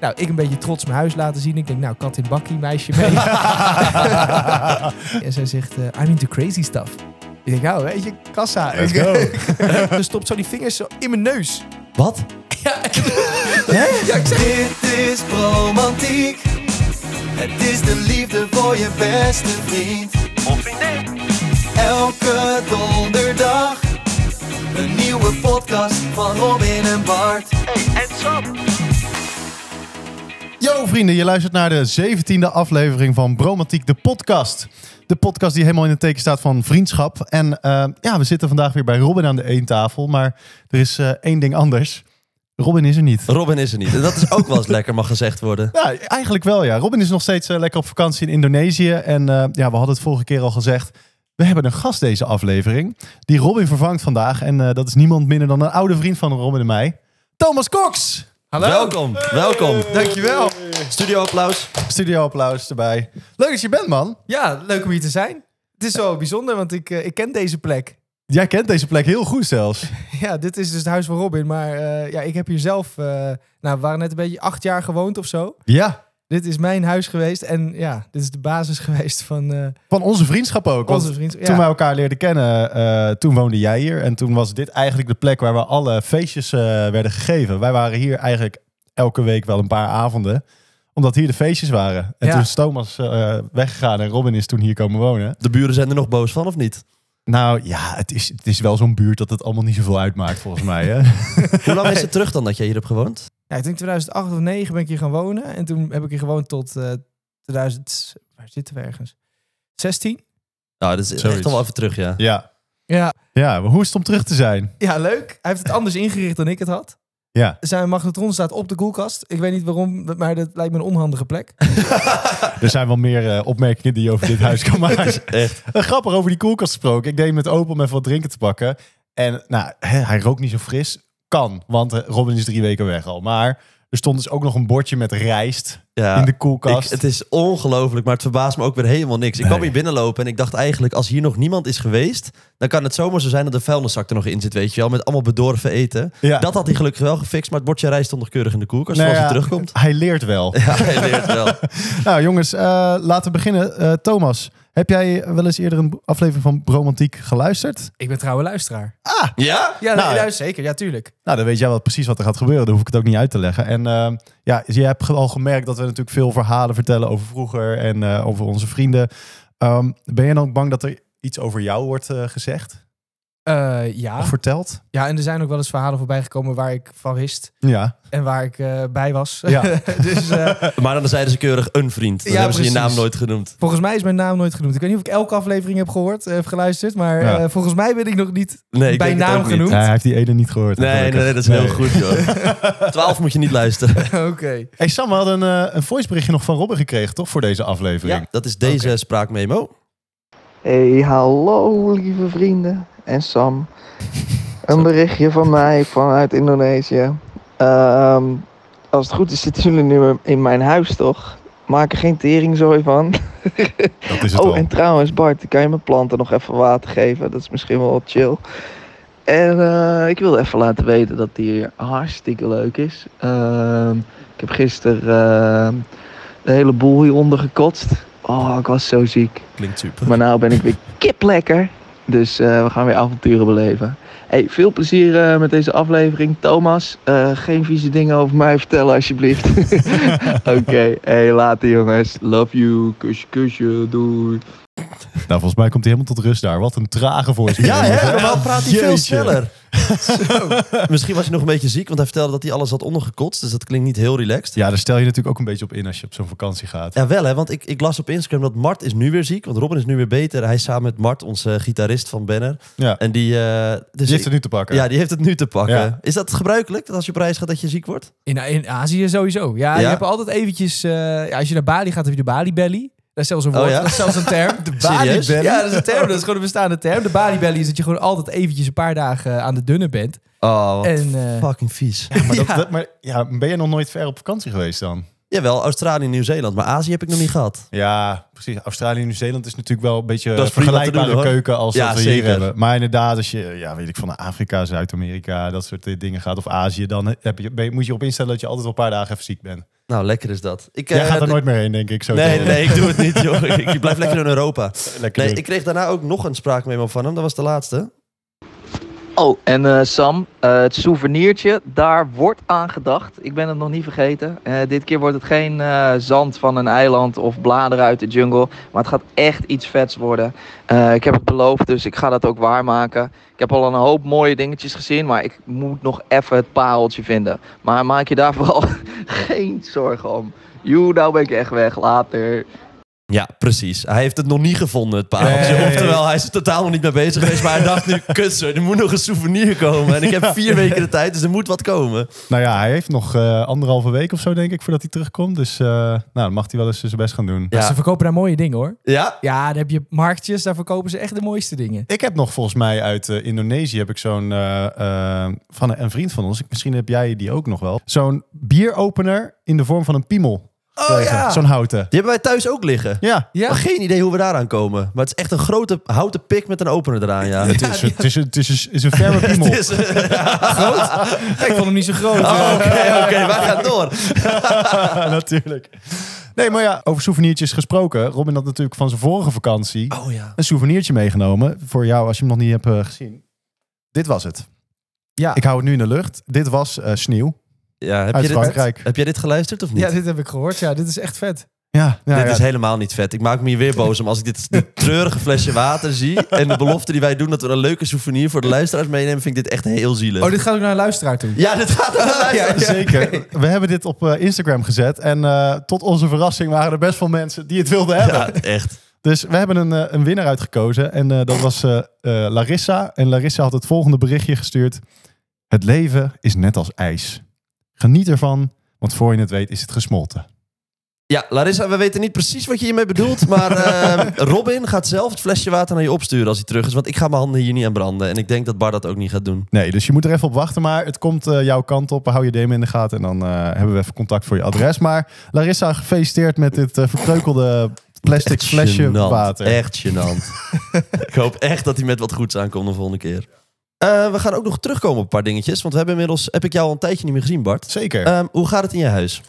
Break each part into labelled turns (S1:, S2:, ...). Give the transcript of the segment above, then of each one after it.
S1: Nou, ik een beetje trots mijn huis laten zien. Ik denk, nou, kat in bakkie, meisje mee. en zij zegt, eh, I'm into crazy stuff. Ik denk, nou, weet je, kassa.
S2: Let's go.
S1: Dus stopt zo die vingers zo in mijn neus.
S3: Wat?
S1: Ja, ja ik zeg...
S4: Dit is romantiek. Het is de liefde voor je beste vriend. Of vriendin. Elke donderdag. Een nieuwe podcast van Robin en Bart. Hey, en Sam.
S2: Yo vrienden, je luistert naar de 17e aflevering van Bromantiek, de podcast. De podcast die helemaal in het teken staat van vriendschap. En eh, ja, we zitten vandaag weer bij Robin aan de eentafel, maar er is eh, één ding anders. Robin is er niet.
S3: Robin is er niet. En dat is ook wel eens lekker, mag gezegd worden.
S2: Ja, eigenlijk wel ja. Robin is nog steeds eh, lekker op vakantie in Indonesië. En eh, ja, we hadden het vorige keer al gezegd. We hebben een gast deze aflevering. Die Robin vervangt vandaag. En eh, dat is niemand minder dan een oude vriend van Robin en mij. Thomas Cox!
S1: Hallo?
S3: Welkom, welkom.
S1: Dankjewel.
S3: Studio applaus.
S2: Studio applaus erbij. Leuk dat je bent man.
S1: Ja, leuk om hier te zijn. Het is wel bijzonder, want ik, eh, ik ken deze plek.
S2: Jij kent deze plek heel goed zelfs.
S1: Ja, dit is dus het huis van Robin. Maar eh, ja, ik heb hier zelf... eh, nou, we waren net een beetje acht jaar gewoond of zo.
S2: Ja.
S1: Dit is mijn huis geweest. En ja, dit is de basis geweest van eh,
S2: Van onze vriendschap ook. Want
S1: onze vriend.
S2: Toen wij
S1: ja.
S2: elkaar leerden kennen, eh, toen woonde jij hier. En toen was dit eigenlijk de plek waar we alle feestjes eh, werden gegeven. Wij waren hier eigenlijk elke week wel een paar avonden. Omdat hier de feestjes waren. En
S1: Ja.
S2: toen is Thomas eh, weggegaan en Robin is toen hier komen wonen.
S3: De buren zijn er nog boos van, of niet?
S2: Nou ja, het is, het is wel zo'n buurt dat het allemaal niet zoveel uitmaakt volgens mij. Hè?
S3: Hoe lang is het terug dan dat jij hier hebt gewoond?
S1: Ja, ik denk 2008 of 2009 ben ik hier gaan wonen. En toen heb ik hier gewoond tot eh 2000... Waar zitten we ergens? 16?
S3: Nou, dat is
S2: Zoiets.
S3: echt al wel even terug, ja.
S2: ja.
S1: Ja.
S2: ja, maar hoe is het om terug te zijn?
S1: ja, leuk. Hij heeft het anders ingericht dan ik het had.
S2: Ja.
S1: Zijn magnetron staat op de koelkast. Ik weet niet waarom, maar dat lijkt me een onhandige plek.
S2: Er zijn wel meer eh, opmerkingen die je over dit huis kan maken.
S3: Echt.
S2: Eh, Grappig over die koelkast gesproken. Ik deed met open om even wat drinken te pakken. En nou, hè, hij rookt niet zo fris. Kan, want eh, Robin is drie weken weg al. Maar er stond dus ook nog een bordje met rijst
S3: Ja.
S2: in de koelkast.
S3: Ik- het is ongelooflijk, maar het verbaast me ook weer helemaal niks. Ik kwam hier binnenlopen en ik dacht eigenlijk, als hier nog niemand is geweest, dan kan het zomaar zo zijn dat de vuilniszak er nog in zit, weet je wel, met allemaal bedorven eten.
S2: Ja.
S3: Dat had hij gelukkig wel gefixt, maar het bordje rijst stond nog keurig in de koelkast
S2: Nou
S3: zoals
S2: ja,
S3: hij terugkomt.
S2: Hij leert wel.
S3: Ja, hij leert wel.
S2: nou jongens, eh, laten we beginnen. Eh, Thomas, heb jij wel eens eerder een aflevering van Bromantiek geluisterd?
S1: Ik ben trouwe luisteraar.
S3: Ja?
S1: Ah, Ja,
S2: Nou,
S1: nou,
S2: ja.
S1: zeker. Ja, tuurlijk.
S2: Nou, dan weet jij wel precies wat er gaat gebeuren. Dan hoef ik het ook niet uit te leggen. En eh, ja, je hebt al gemerkt dat we natuurlijk veel verhalen vertellen over vroeger en eh, over onze vrienden. Ehm, ben je dan ook bang dat er iets over jou wordt eh, gezegd
S1: Eh, ja.
S3: Ah.
S2: of verteld?
S1: ja, en er zijn ook wel eens verhalen voorbij gekomen waar ik van wist.
S2: Ja.
S1: En waar ik eh, bij was.
S2: Ja.
S1: dus eh,
S3: Maar dan zeiden ze keurig een vriend. Dan
S1: Ja,
S3: hebben ze je
S1: precies.
S3: naam nooit genoemd.
S1: volgens mij is mijn naam nooit genoemd. Ik weet niet of ik elke aflevering heb gehoord, eh, heb geluisterd. Maar
S2: Ja.
S1: eh, volgens mij ben ik nog niet
S3: Nee, ik
S1: bij
S3: denk het
S1: naam
S3: ook niet.
S1: genoemd.
S2: Nee, hij heeft die ene niet gehoord.
S3: Nee,
S2: gelukkig.
S3: nee, dat is heel goed, joh. Twaalf moet je niet luisteren.
S1: Oké.
S2: Hey Sam, we hadden een, eh, een voiceberichtje nog van Robin gekregen, toch? Voor deze aflevering.
S3: Ja, dat is deze spraakmemo.
S5: Hey, hallo lieve vrienden en Sam. Een berichtje van mij vanuit Indonesië. Ehm, als het goed is zitten jullie nu in mijn huis, toch? Maak er geen teringzooi van.
S2: Dat is het
S5: Oh,
S2: wel.
S5: en trouwens Bart, kan je mijn planten nog even water geven? Dat is misschien wel chill. En eh, ik wilde even laten weten dat die hier hartstikke leuk is. Ehm, ik heb gisteren ehm, de hele boel hieronder gekotst. Oh, ik was zo ziek.
S3: Klinkt super.
S5: Maar nou ben ik weer kiplekker. Dus eh, we gaan weer avonturen beleven. Hey, veel plezier eh, met deze aflevering. Thomas, eh, geen vieze dingen over mij vertellen alsjeblieft. Oké, hey, later jongens. Love you. Kusje, kusje. Doei.
S2: Nou, volgens mij komt hij helemaal tot rust daar. Wat een trage voicebericht.
S3: Ja, hè? Normaal praat hij veel
S2: Jeetje.
S3: sneller. Zo. Misschien was hij nog een beetje ziek, want hij vertelde dat hij alles had ondergekotst. Dus dat klinkt niet heel relaxed.
S2: Ja, daar stel je natuurlijk ook een beetje op in als je op zo'n vakantie gaat.
S3: Ja, wel hè, want ik, ik las op Instagram dat Mart is nu weer ziek. Want Robin is nu weer beter. Hij is samen met Mart, onze eh, gitarist van Banner.
S2: Ja.
S3: En die... eh, dus
S2: Die heeft het nu te pakken.
S3: ja, die heeft het nu te pakken.
S2: Ja.
S3: Is dat gebruikelijk, dat als je op reis gaat dat je ziek wordt?
S1: In, in Azië sowieso. Ja, je
S3: Ja?
S1: hebt altijd eventjes... eh, ja, als je naar Bali gaat, heb je de Bali Belly. Dat is zelfs een
S3: Oh,
S1: woord,
S3: ja?
S1: dat is zelfs een term. De
S3: Bali Serieus? belly?
S1: Ja, dat is een term. Dat is gewoon een bestaande term. De Bali Belly is dat je gewoon altijd eventjes een paar dagen eh, aan de dunne bent.
S3: Oh, wat
S1: En, eh,
S3: fucking vies.
S2: Maar, dat,
S1: Ja.
S2: dat- maar ja, ben je nog nooit ver op vakantie geweest dan?
S3: Jawel, Australië en Nieuw-Zeeland. Maar Azië heb ik nog niet gehad.
S2: Ja, precies. Australië en Nieuw-Zeeland is natuurlijk wel een beetje
S3: Dat is prima te
S2: vergelijkbare
S3: doen, hoor.
S2: keuken als
S3: Ja,
S2: dat we
S3: zeker.
S2: hier hebben. Maar inderdaad, als je, ja, weet ik, van Afrika, Zuid-Amerika, dat soort eh, dingen gaat, of Azië, dan heb je, ben je- moet je op instellen dat je altijd wel een paar dagen even ziek bent.
S3: Nou, lekker is dat. Ik,
S2: Jij
S3: eh,
S2: gaat er
S3: d-
S2: nooit meer heen, denk ik. Zo
S3: Nee,
S2: te-
S3: nee, nee, ik doe het niet, joh. Ik, ik blijf lekker in Europa.
S2: Lekker
S3: Nee,
S2: doen.
S3: ik kreeg daarna ook nog een spraakmemo van hem. Dat was de laatste.
S5: Oh, en eh, Sam, eh, het souvenirtje, daar wordt aan gedacht. Ik ben het nog niet vergeten. Eh, dit keer wordt het geen eh, zand van een eiland of bladeren uit de jungle. Maar het gaat echt iets vets worden. Eh, ik heb het beloofd, dus ik ga dat ook waarmaken. Ik heb al een hoop mooie dingetjes gezien, maar ik moet nog even het pareltje vinden. Maar maak je daar vooral geen zorgen om. Joe, nou ben ik echt weg. Later.
S3: Ja, precies. Hij heeft het nog niet gevonden, het pareltje.
S2: Nee, nee,
S3: Oftewel, hij is er totaal nog niet mee bezig geweest. Maar hij dacht nu, kutser, er moet nog een souvenir komen. En ik heb vier weken de tijd, dus er moet wat komen.
S2: Nou ja, hij heeft nog eh, anderhalve week of zo, denk ik, voordat hij terugkomt. Dus eh, nou, dan mag hij wel eens zijn best gaan doen.
S1: Ze
S3: Ja,
S1: verkopen daar mooie dingen hoor.
S3: ja?
S1: Ja, dan heb je marktjes, daar verkopen ze echt de mooiste dingen.
S2: Ik heb nog volgens mij uit eh, Indonesië heb ik zo'n eh, eh, van een, een vriend van ons. ik- Misschien heb jij die ook nog wel. Zo'n bieropener in de vorm van een piemel.
S3: Oh
S2: Tegen,
S3: ja.
S2: Zo'n houten.
S3: Die hebben wij thuis ook liggen.
S2: Ja.
S1: Ja.
S3: Maar geen idee hoe we daaraan komen. Maar het is echt een grote houten pik met een opener eraan, ja.
S2: Het is, het is, het is, het is een ferme piemel.
S3: Het is-
S1: Ja, ik vond hem niet zo groot.
S3: Oh, Oké, oké, wij gaan door.
S2: Ja, natuurlijk. Nee, maar ja, over souvenirtjes gesproken. Robin had natuurlijk van zijn vorige vakantie
S3: Oh ja.
S2: een souvenirtje meegenomen. Voor jou, als je hem nog niet hebt eh, gezien. Dit was het.
S1: Ja.
S2: Ik hou het nu in de lucht. Dit was eh, sneeuw
S3: ja heb,
S2: uit
S3: je dit,
S2: Frankrijk.
S3: heb jij dit geluisterd of niet?
S1: Ja, dit heb ik gehoord. Ja, dit is echt vet.
S2: Ja, ja,
S3: dit
S2: ja.
S3: is helemaal niet vet. Ik maak me hier weer boos om als ik dit, dit treurige flesje water zie. En de belofte die wij doen dat we een leuke souvenir voor de luisteraars meenemen, vind ik dit echt heel zielig.
S1: Oh, dit gaat ook naar een luisteraar toe.
S3: Ja, dit gaat naar de luisteraars.
S2: Zeker. We hebben dit op eh, Instagram gezet. En eh, tot onze verrassing waren er best veel mensen die het wilden hebben.
S3: Ja, echt.
S2: Dus we hebben een, eh, een winnaar uitgekozen. En eh, dat was eh, eh, Larissa. En Larissa had het volgende berichtje gestuurd. Het leven is net als ijs. Geniet ervan, want voor je het weet is het gesmolten.
S3: Ja, Larissa, we weten niet precies wat je hiermee bedoelt. Maar eh, Robin gaat zelf het flesje water naar je opsturen als hij terug is. Want ik ga mijn handen hier niet aan branden. En ik denk dat Bar dat ook niet gaat doen.
S2: Nee, dus je moet er even op wachten. Maar het komt eh, jouw kant op. Hou je DM in de gaten. En dan eh, hebben we even contact voor je adres. Maar Larissa, gefeliciteerd met dit eh, verkreukelde plastic
S3: Echt
S2: flesje
S3: gênant.
S2: water.
S3: Echt gênant. ik hoop echt dat hij met wat goeds aankomt de volgende keer. Eh, we gaan ook nog terugkomen op een paar dingetjes. Want we hebben inmiddels... Heb ik jou al een tijdje niet meer gezien, Bart.
S2: Zeker.
S3: Ehm, hoe gaat het in je huis?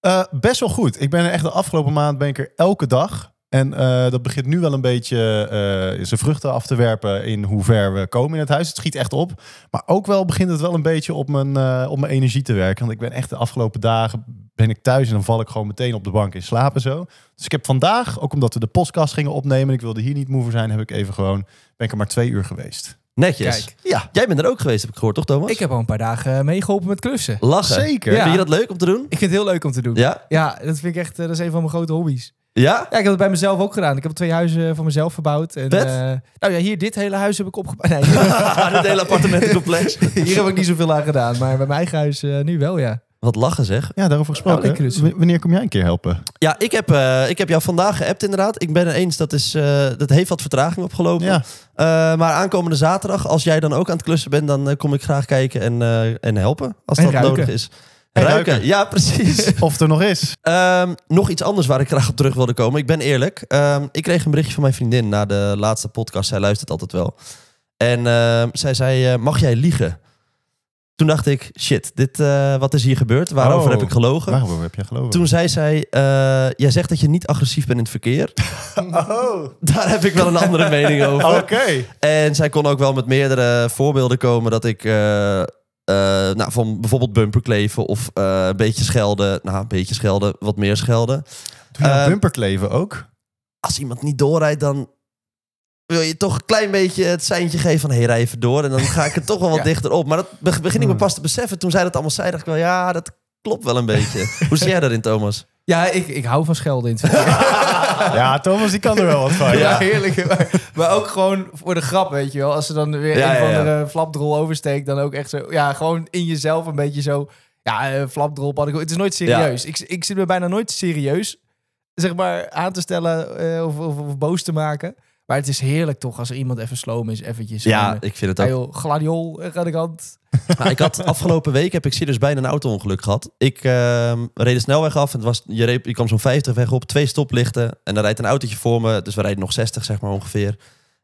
S2: Eh, best wel goed. Ik ben er echt de afgelopen maand ben ik er elke dag. En eh, dat begint nu wel een beetje eh, zijn vruchten af te werpen in hoe ver we komen in het huis. Het schiet echt op. Maar ook wel begint het wel een beetje op mijn, eh, op mijn energie te werken. Want ik ben echt de afgelopen dagen ben ik thuis en dan val ik gewoon meteen op de bank in slaap en zo. Dus ik heb vandaag, ook omdat we de podcast gingen opnemen en ik wilde hier niet moe voor zijn, heb ik even gewoon, ben ik er maar twee uur geweest.
S3: Netjes.
S1: Kijk.
S2: Ja,
S3: Jij bent er ook geweest, heb ik gehoord, toch Thomas?
S1: Ik heb al een paar dagen meegeholpen met klussen.
S3: Lachen.
S2: zeker.
S1: Ja.
S3: Vind je dat leuk om te doen?
S1: Ik vind het heel leuk om te doen.
S3: Ja?
S1: Ja, dat vind ik echt, eh, dat is een van mijn grote hobby's.
S3: Ja?
S1: Ja, ik heb het bij mezelf ook gedaan. Ik heb twee huizen van mezelf verbouwd. En,
S3: Vet.
S1: eh, nou ja, hier dit hele huis heb ik opgebouwd. Nee, hier,
S3: Dit hele appartementencomplex.
S1: hier heb ik niet zoveel aan gedaan, maar bij mijn eigen huis eh, nu wel, ja.
S3: Wat lachen zeg.
S2: Ja, daarover
S1: Ja,
S2: gesproken.
S1: lekker dus.
S2: W- wanneer kom jij een keer helpen?
S3: Ja, ik heb, eh, ik heb jou vandaag geappt inderdaad. Ik ben er eens, dat, is, eh, dat heeft wat vertraging opgelopen.
S2: Ja.
S3: Eh, maar aankomende zaterdag, als jij dan ook aan het klussen bent, dan eh, kom ik graag kijken en, eh, en helpen. Als
S1: En
S3: dat
S1: ruiken.
S3: nodig is.
S2: En ruiken.
S3: ruiken. Ja, precies.
S2: Of het er nog is.
S3: Ehm, nog iets anders waar ik graag op terug wilde komen. Ik ben eerlijk. Ehm, ik kreeg een berichtje van mijn vriendin na de laatste podcast. Zij luistert altijd wel. En ehm, zij zei, eh, mag jij liegen? Toen dacht ik, shit, dit, eh, wat is hier gebeurd? Waarover
S2: Oh.
S3: heb ik gelogen?
S2: Waarom heb jij gelogen?
S3: Toen zei zij, eh, jij zegt dat je niet agressief bent in het verkeer.
S2: Oh,
S3: Daar heb ik wel een andere mening over.
S2: oké.
S3: En zij kon ook wel met meerdere voorbeelden komen dat ik... eh, eh, nou, van bijvoorbeeld bumperkleven of eh, een beetje schelden. Nou, een beetje schelden, wat meer schelden.
S2: Doe je
S3: Eh,
S2: bumperkleven ook?
S3: als iemand niet doorrijdt, dan wil je toch een klein beetje het seintje geven van... hé, hey, rij even door. En dan ga ik er toch wel wat
S1: Ja.
S3: dichter op. Maar dat be- begin ik me pas te beseffen. Toen zij dat allemaal zei, dacht ik wel... ja, dat klopt wel een beetje. Hoe zie jij daarin, Thomas?
S1: Ja, ik, ik hou van schelden in het verkeer.
S2: Ja, Thomas die kan er wel wat van.
S1: Ja, heerlijk. Maar, maar ook gewoon voor de grap, weet je wel. Als ze dan weer
S3: Ja,
S1: een
S3: ja,
S1: van
S3: ja.
S1: de flapdrol oversteekt, dan ook echt zo... Ja, gewoon in jezelf een beetje zo... Ja, eh, flapdrol, paddenkoek. Het is nooit serieus. Ik, ik zit me bijna nooit serieus, zeg maar, aan te stellen eh, of, of, of boos te maken. Maar Maar het is heerlijk toch als er iemand even sloom is, eventjes.
S3: Ja,
S1: gewoon,
S3: ik vind het
S1: eh,
S3: ook.
S1: ah joh, gladiol, eh, radikant.
S3: Nou, ik had afgelopen week heb ik serieus bijna een auto-ongeluk gehad. Ik ehm, reed de snelweg af en het was, je, reed, je kwam zo'n 50 weg op, twee stoplichten. En dan rijdt een autootje voor me, dus we rijden nog 60 zeg maar ongeveer.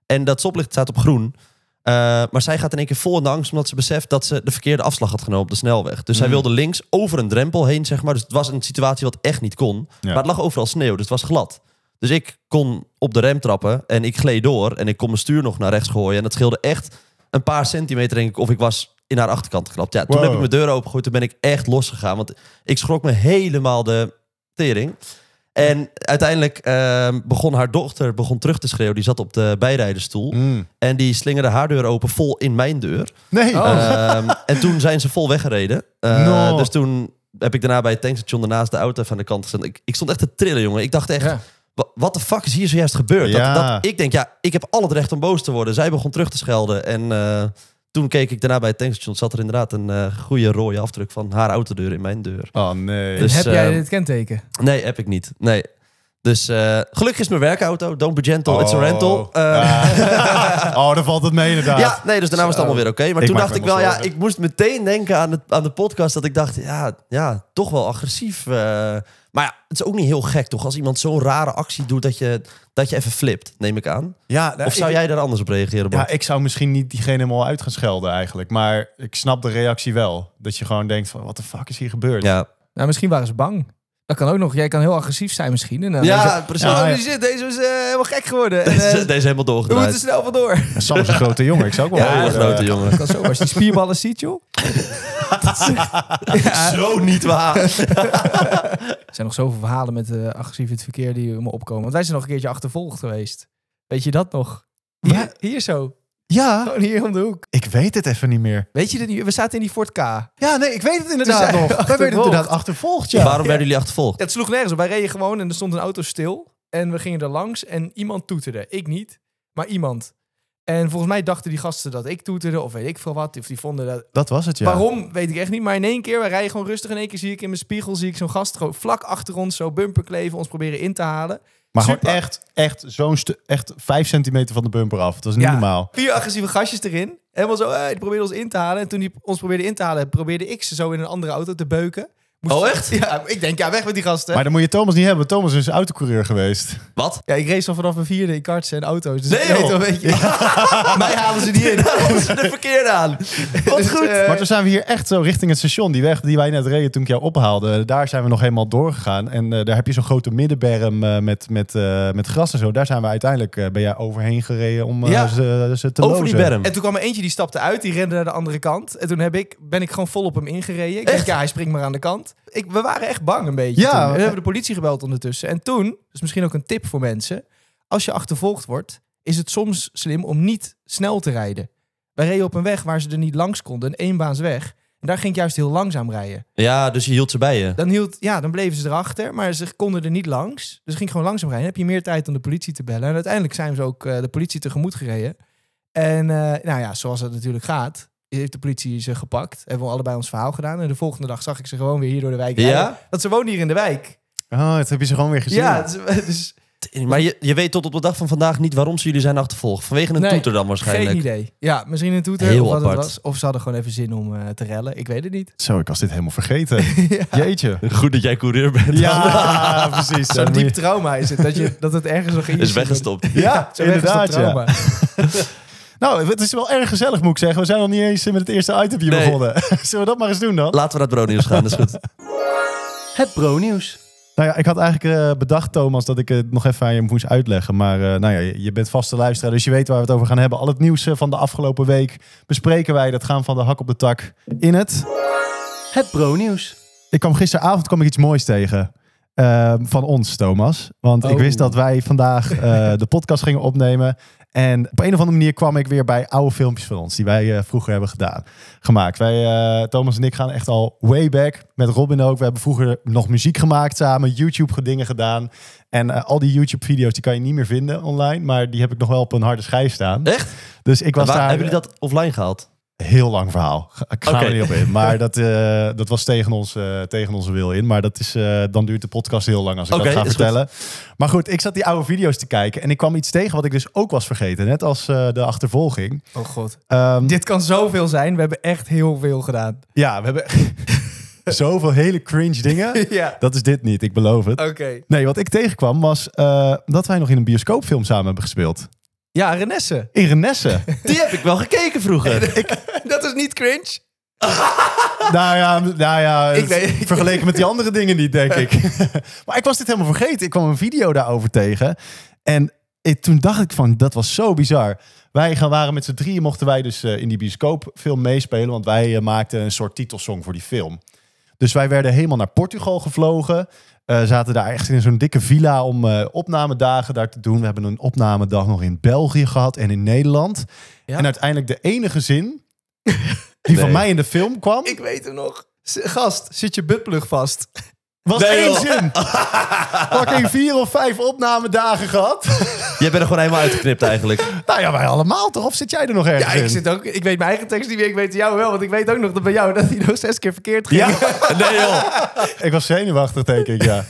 S3: En dat stoplicht staat op groen. Eh, maar zij gaat in één keer vol in de angst omdat ze beseft dat ze de verkeerde afslag had genomen op de snelweg. Dus zij
S2: Mm.
S3: wilde links over een drempel heen zeg maar. Dus het was een situatie wat echt niet kon. Maar het lag overal sneeuw, dus het was glad. Dus ik kon op de rem trappen en ik gleed door en ik kon mijn stuur nog naar rechts gooien. En dat scheelde echt een paar centimeter, denk ik, of ik was in haar achterkant geklapt. Ja, toen
S2: Wow.
S3: heb ik mijn deur opengegooid, toen ben ik echt losgegaan. Want ik schrok me helemaal de tering. En uiteindelijk ehm, begon haar dochter begon terug te schreeuwen. Die zat op de bijrijdersstoel.
S2: Mm.
S3: En die slingerde haar deur open vol in mijn deur.
S2: Nee. Eh,
S1: Oh.
S3: Ehm, en toen zijn ze vol weggereden. Eh,
S2: No.
S3: Dus toen heb ik daarna bij het tankstation daarnaast de auto even aan de kant gezet. Ik, ik stond echt te trillen, jongen. Ik dacht echt,
S1: Ja.
S3: wat de fuck is hier zojuist gebeurd?
S2: Ja.
S3: Dat, dat, ik denk, ja, ik heb al het recht om boos te worden. Zij begon terug te schelden. En eh, toen keek ik daarna bij het tankstation. Zat er inderdaad een eh, goede rode afdruk van haar autodeur in mijn deur.
S2: Oh nee.
S3: Dus-
S1: Heb jij
S3: ehm,
S1: dit kenteken?
S3: Nee, heb ik niet. Nee. Dus eh, gelukkig is mijn werkauto. Don't be gentle, it's a
S2: Oh.
S3: rental. Eh,
S2: Ah. oh, dan valt het mee inderdaad.
S3: Ja, nee, dus daarna was het allemaal weer oké. Maar
S2: Ik
S3: toen
S2: maak
S3: dacht
S2: me
S3: ik wel,
S2: helemaal
S3: ja,
S2: zorgen.
S3: ik moest meteen denken aan, het, aan de podcast. Dat ik dacht, ja, ja toch wel agressief. eh. maar ja, het is ook niet heel gek, toch? Als iemand zo'n rare actie doet dat je, dat je even flipt, neem ik aan.
S2: Ja, nou,
S3: Of zou
S2: ik-
S3: jij daar anders op reageren,
S2: Ja,
S3: Bart?
S2: ik zou misschien niet diegene helemaal uit gaan schelden eigenlijk. Maar ik snap de reactie wel. Dat je gewoon denkt van, wat de fuck is hier gebeurd?
S3: Ja,
S1: Nou, misschien waren ze bang. Dat kan ook nog. Jij kan heel agressief zijn misschien. En dan
S3: ja,
S1: denk je,
S3: precies.
S1: Oh,
S2: Ja, ja.
S1: die zit, deze is eh, helemaal gek geworden. En, eh,
S3: Deze, deze is helemaal
S1: we moeten
S3: doorgedraaid.
S1: snel vandoor.
S2: En Sam is een grote jongen. Ik zou ook wel...
S3: Ja, hele
S2: eh,
S3: grote jongen.
S1: Dat is zo. Als je die spierballen ziet, joh. ja, er
S3: Zo niet waar.
S1: zijn nog zoveel verhalen met eh, agressief in het verkeer die me opkomen. Want wij zijn nog een keertje achtervolgd geweest. Weet je dat nog? Hier, hier zo.
S2: Ja,
S1: Gewoon hier om de hoek.
S2: ik weet het even niet meer.
S1: Weet je dat niet? We zaten in die Ford K.
S2: Ja, nee, ik
S3: Dus
S2: weet het inderdaad
S1: Toen zijn we
S2: nog. Wij werden
S1: achtervolgd.
S2: inderdaad achtervolgd, ja.
S3: Waarom werden jullie achtervolgd?
S1: Het sloeg nergens op. Wij reden gewoon en er stond een auto stil. En we gingen er langs en iemand toeterde. Ik niet, maar iemand. En volgens mij dachten die gasten dat ik toeterde of weet ik veel wat. Of die vonden dat...
S2: Dat was het, ja.
S1: Waarom, weet ik echt niet. Maar in één keer, we rijden gewoon rustig. In één keer zie ik in mijn spiegel zie ik zo'n gast gewoon vlak achter ons zo bumper kleven. Ons proberen in te halen.
S2: Maar gewoon
S1: Super.
S2: echt, echt zo'n stu- echt vijf centimeter van de bumper af. Dat was niet
S1: Ja.
S2: normaal.
S1: Vier agressieve gastjes erin. Helemaal zo, eh, die probeerden ons in te halen. En toen die ons probeerden in te halen, probeerde ik ze zo in een andere auto te beuken. Moest-
S3: Oh, echt?
S1: Ja, ik denk, ja, weg met die gasten.
S2: Maar dan moet je Thomas niet hebben. Thomas is autocoureur geweest.
S3: Wat?
S1: Ja, ik race al vanaf mijn vierde in karts en auto's. Dus
S3: Nee,
S1: ik
S3: joh.
S1: weet wel, weet je. Mij halen ze niet in.
S3: De verkeerde aan. Wat
S1: Dus,
S3: goed.
S1: eh,
S2: Maar toen zijn we hier echt zo richting het station. Die weg die wij net reden toen ik jou ophaalde. Daar zijn we nog helemaal doorgegaan. En eh, daar heb je zo'n grote middenberm eh, met, met, eh, met gras en zo. Daar zijn we uiteindelijk eh, ben jij overheen gereden om eh,
S1: Ja.
S2: ze, ze te
S3: Over die
S2: lozen.
S3: berm.
S1: En toen kwam er eentje die stapte uit, die rende naar de andere kant. En toen heb ik, ben ik gewoon vol op hem ingereden. Ik
S3: Echt?
S1: denk, ja, hij springt maar aan de kant. Ik, we waren echt bang een beetje.
S2: Ja.
S1: toen. En we hebben de politie gebeld ondertussen. En toen, dat is misschien ook een tip voor mensen. Als je achtervolgd wordt, is het soms slim om niet snel te rijden. Wij reden op een weg waar ze er niet langs konden, een eenbaansweg. En daar ging ik juist heel langzaam rijden.
S3: Ja, dus je hield ze bij je.
S1: Dan, hield, ja, dan bleven ze erachter, maar ze konden er niet langs. Dus ging ik gewoon langzaam rijden. Dan heb je meer tijd om de politie te bellen. En uiteindelijk zijn ze ook eh, de politie tegemoet gereden. En eh, nou ja, zoals het natuurlijk gaat, heeft de politie ze gepakt. Hebben we allebei ons verhaal gedaan. En de volgende dag zag ik ze gewoon weer hier door de wijk
S3: Ja?
S1: rijden. Want ze wonen hier in de wijk.
S2: Oh, dat heb je ze gewoon weer gezien.
S1: Ja, dus, dus
S3: Maar je, je weet tot op de dag van vandaag niet waarom ze jullie zijn achtervolgd. Vanwege een
S1: Nee,
S3: toeter dan
S1: geen
S3: waarschijnlijk.
S1: idee. Ja, misschien een toeter
S3: Heel
S1: of wat
S3: apart.
S1: het was. Of ze hadden gewoon even zin om eh, te rellen. Ik weet het niet.
S2: Zo, ik was dit helemaal vergeten. Jeetje.
S3: Goed dat jij coureur bent.
S2: Ja, precies.
S1: Zo'n
S2: Dan moet je-
S1: diep trauma is het. Dat, je, dat het ergens nog in je
S3: Is
S1: zit.
S3: weggestopt.
S2: Ja,
S1: Zo'n
S2: inderdaad.
S1: weggestopt
S2: Ja.
S1: trauma.
S2: Nou, het is wel erg gezellig, moet ik zeggen. We zijn nog niet eens met het eerste itempje
S3: Nee.
S2: begonnen. Zullen we dat maar eens doen dan?
S3: Laten we naar het broodnieuws gaan, dat is goed.
S4: Het Bro-nieuws.
S2: Nou ja, ik had eigenlijk eh, bedacht, Thomas, dat ik het nog even aan je moest uitleggen. Maar eh, nou ja, je- je bent vaste luisteraar, dus je weet waar we het over gaan hebben. Al het nieuws eh, van de afgelopen week bespreken wij. Dat gaan van de hak op de tak in het.
S4: Het Bro-nieuws.
S2: Ik kwam gisteravond kwam ik iets moois tegen. eh, van ons, Thomas. Want ik
S1: Oh.
S2: wist dat wij vandaag eh, de podcast gingen opnemen. En op een of andere manier kwam ik weer bij oude filmpjes van ons. Die wij eh, vroeger hebben gedaan, gemaakt. Wij, eh, Thomas en ik gaan echt al way back. Met Robin ook. We hebben vroeger nog muziek gemaakt samen. YouTube dingen gedaan. En eh, al die YouTube video's die kan je niet meer vinden online. Maar die heb ik nog wel op een harde schijf staan.
S3: Echt?
S2: Dus ik was
S3: Waar,
S2: daar...
S3: Hebben jullie dat offline gehaald?
S2: Heel lang verhaal. Ga- Ik ga
S3: Oké.
S2: er niet op in. Maar dat, eh, dat was tegen, ons, eh, tegen onze wil in. Maar dat is, eh, dan duurt de podcast heel lang als ik
S3: Oké,
S2: dat ga
S3: is goed.
S2: vertellen. Maar goed, ik zat die oude video's te kijken. En ik kwam iets tegen wat ik dus ook was vergeten. Net als eh, de achtervolging.
S1: Oh god.
S2: Ehm,
S1: Dit kan zoveel zijn. We hebben echt heel veel gedaan.
S2: ja, we hebben zoveel hele cringe dingen.
S1: ja.
S2: Dat is dit niet, ik beloof het.
S1: Oké.
S2: Nee, wat ik tegenkwam was eh, dat wij nog in een bioscoopfilm samen hebben gespeeld.
S1: Ja, Renesse.
S2: In Renesse.
S3: Die heb ik wel gekeken vroeger.
S1: Dat is niet cringe.
S2: nou ja, nou ja
S1: Ik weet-
S2: het- vergeleken met die andere dingen niet, denk ik. maar ik was dit helemaal vergeten. Ik kwam een video daarover tegen. En ik- toen dacht ik van, dat was zo bizar. Wij gaan, waren met z'n drieën, mochten wij dus eh, in die bioscoopfilm meespelen. Want wij eh, maakten een soort titelsong voor die film. Dus wij werden helemaal naar Portugal gevlogen. Eh, zaten daar echt in zo'n dikke villa om eh, opnamedagen daar te doen. We hebben een opnamedag nog in België gehad en in Nederland.
S1: Ja.
S2: En uiteindelijk de enige zin die van
S3: Nee.
S2: mij in de film kwam...
S1: Ik weet hem nog. Z- Gast, zit je buttplug vast?
S2: Was
S3: Nee,
S2: één
S3: joh.
S2: zin. Fucking vier of vijf opnamedagen gehad.
S3: Jij bent er gewoon helemaal uitgeknipt eigenlijk.
S2: nou ja, wij allemaal toch? Of zit jij er nog ergens
S1: Ja, ik,
S2: in?
S1: zit ook, ik weet mijn eigen tekst niet meer. Ik weet jou wel. Want ik weet ook nog dat bij jou dat hij nog zes keer verkeerd ging.
S2: Ja.
S3: Nee joh.
S2: Ik was zenuwachtig, denk ik, ja.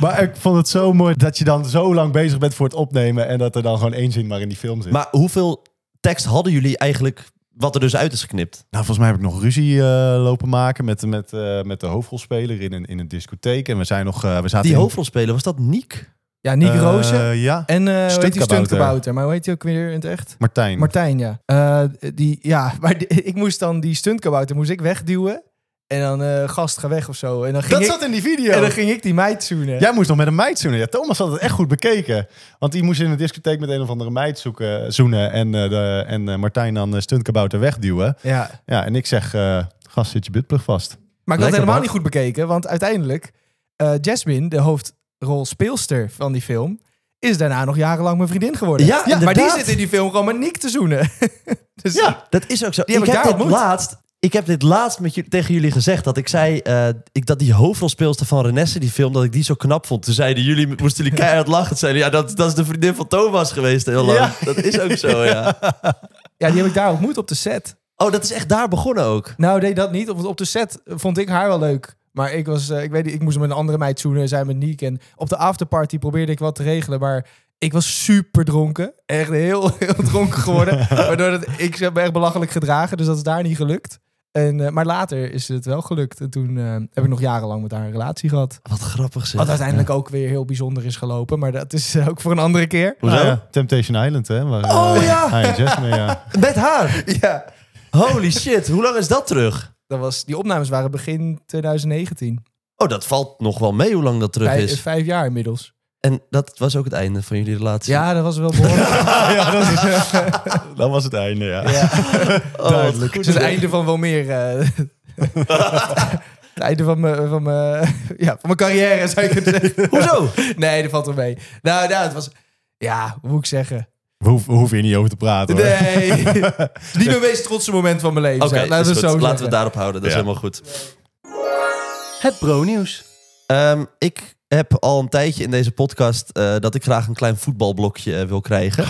S2: maar ik vond het zo mooi dat je dan zo lang bezig bent voor het opnemen... en dat er dan gewoon één zin maar in die film zit.
S3: Maar hoeveel tekst hadden jullie eigenlijk wat er dus uit is geknipt?
S2: nou, volgens mij heb ik nog ruzie eh, lopen maken met, met, eh, met de hoofdrolspeler in een, in een discotheek. En we, zijn nog, eh, we zaten
S3: Die
S2: in-
S3: hoofdrolspeler, was dat Niek?
S1: ja Nick
S2: Eh,
S1: Rozen.
S2: ja,
S1: En eh hoe heet die
S2: Stuntkabouter.
S1: stuntkabouter? Maar hoe heet die ook weer in het echt?
S2: Martijn.
S1: Martijn, ja. Eh, die, ja, maar die- ik moest dan die stuntkabouter moest ik wegduwen. En dan eh, gast, ga weg of zo. En dan ging,
S2: dat
S1: ik,
S2: zat in die video.
S1: en dan ging ik die meid zoenen.
S2: Jij moest nog met een meid zoenen. Ja, Thomas had het echt goed bekeken. Want die moest in een discotheek met een of andere meid zoeken, zoenen. En, eh, de, en eh, Martijn dan eh, stuntkabouter wegduwen.
S1: Ja.
S2: Ja, en ik zeg, eh gast, zit je buttplug vast.
S1: Maar ik had
S3: Lekker,
S1: het helemaal
S3: man.
S1: niet goed bekeken, want uiteindelijk... eh, Jasmine, de hoofdrolspeelster van die film... is daarna nog jarenlang mijn vriendin geworden.
S3: Ja,
S1: maar die
S3: inderdaad.
S1: zit in die film gewoon met Nick te zoenen. dus
S3: Ja, dat is ook zo.
S1: Die
S3: ik
S1: heb ik
S3: heb
S1: daar
S3: dit
S1: ontmoet.
S3: laatst. Ik heb dit laatst met jullie, tegen jullie gezegd dat ik zei eh, ik, dat die hoofdrolspeelster van Renesse, die film, dat ik die zo knap vond. Toen zeiden jullie, moesten jullie keihard lachen. Toen zeiden ja, dat, dat is de vriendin van Thomas geweest heel lang.
S2: Ja.
S3: Dat is ook zo, ja.
S1: ja, die heb ik daar ontmoet op de set.
S3: Oh, dat is echt daar begonnen ook.
S1: Nou, deed dat niet. Op, op de set vond ik haar wel leuk. Maar ik, was, eh, ik, weet, niet, ik moest met een andere meid zoenen. Zij met Niek. En op de afterparty probeerde ik wat te regelen. Maar ik was super dronken. Echt heel, heel dronken geworden. waardoor dat, ik heb me echt belachelijk gedragen. Dus dat is daar niet gelukt. En, eh, maar later is het wel gelukt. En toen eh, heb ik nog jarenlang met haar een relatie gehad.
S3: Wat grappig zeg.
S1: Wat uiteindelijk ook weer heel bijzonder is gelopen. Maar dat is eh, ook voor een andere keer.
S3: Hoezo?
S2: Nou ja, Temptation Island, hè? Waar,
S3: Oh,
S2: eh,
S3: ja.
S2: hij en Jasmine, ja.
S3: Met haar.
S1: Ja.
S3: Holy shit, hoe lang is dat terug?
S1: Dat was, die opnames waren begin 2019.
S3: Oh, dat valt nog wel mee hoe lang dat terug
S1: Vijf,
S3: is.
S1: vijf jaar inmiddels.
S3: En dat was ook het einde van jullie relatie.
S1: Ja, dat was wel behoorlijk.
S2: ja dat, is, dat was het einde, ja.
S3: Oh, duidelijk.
S1: Het is het einde van wel meer. eh, het einde van mijn, van mijn, eh, ja, van mijn carrière, zou ik het zeggen.
S3: Hoezo?
S1: Nee, dat valt wel mee. Nou, nou, het was... Ja, hoe moet ik zeggen?
S2: We, hoef- we hoeven hier niet over te praten, hoor.
S1: Nee. Het is niet mijn meest trotse moment van mijn leven.
S3: Oké,
S1: zeg.
S3: is
S1: laten we het
S3: goed.
S1: zo
S3: laten we
S1: zeggen.
S3: het daarop houden. Dat is
S2: Ja.
S3: helemaal goed.
S4: Het bro-nieuws.
S3: Ehm, ik heb al een tijdje in deze podcast eh, dat ik graag een klein voetbalblokje eh, wil krijgen.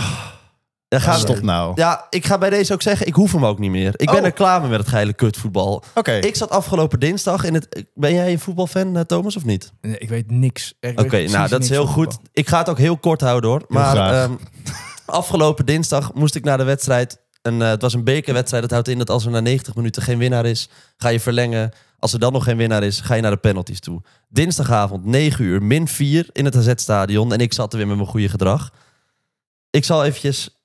S3: Daar gaan we.
S2: Stop nou.
S3: Ja, ik ga bij deze ook zeggen, ik hoef hem ook niet meer. Ik ben
S2: Oh.
S3: er klaar mee met het geile kutvoetbal.
S2: Oké.
S3: Ik zat afgelopen dinsdag in het... Ben jij een voetbalfan, eh, Thomas, of niet?
S1: Nee, ik weet niks. Ik weet
S3: Oké,
S1: precies
S3: nou, dat
S1: niks
S3: is heel
S1: van
S3: goed.
S1: voetbal.
S3: Ik ga het ook heel kort houden, hoor. Maar
S2: graag.
S3: ehm, afgelopen dinsdag moest ik naar de wedstrijd. En, eh, het was een bekerwedstrijd. Dat houdt in dat als er na 90 minuten geen winnaar is, ga je verlengen. Als er dan nog geen winnaar is, ga je naar de penalties toe. Dinsdagavond, 9 uur, min 4 in het AZ-stadion. En ik zat er weer met mijn goede gedrag. Ik zal eventjes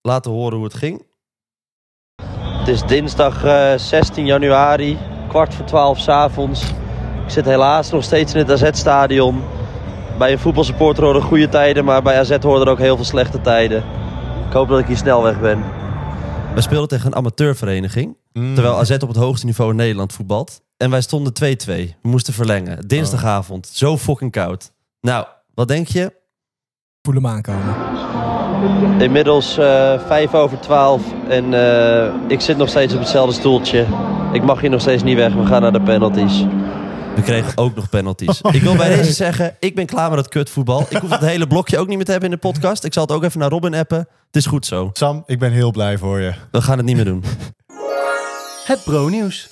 S3: laten horen hoe het ging.
S6: Het is dinsdag eh, 16 januari, kwart voor 12 s'avonds. Ik zit helaas nog steeds in het AZ-stadion. Bij een voetbalsupporter horen goede tijden, maar bij AZ horen er ook heel veel slechte tijden. Ik hoop dat ik hier snel weg ben.
S3: We speelden tegen een amateurvereniging.
S2: Mm.
S3: Terwijl AZ op het hoogste niveau in Nederland voetbalt. En wij stonden 2-2. We moesten verlengen. Dinsdagavond. Zo fucking koud. Nou, wat denk je?
S1: Voel hem aankomen.
S6: Inmiddels eh 5 over 12 en eh, ik zit nog steeds op hetzelfde stoeltje. Ik mag hier nog steeds niet weg, we gaan naar de penalties.
S3: We kregen ook nog penalties. ik wil bij deze zeggen, ik ben klaar met het kutvoetbal. Ik hoef het hele blokje ook niet meer te hebben in de podcast. Ik zal het ook even naar Robin appen. Het is goed zo.
S2: Sam, ik ben heel blij voor je.
S3: We gaan het niet meer doen.
S4: Het Bro-nieuws.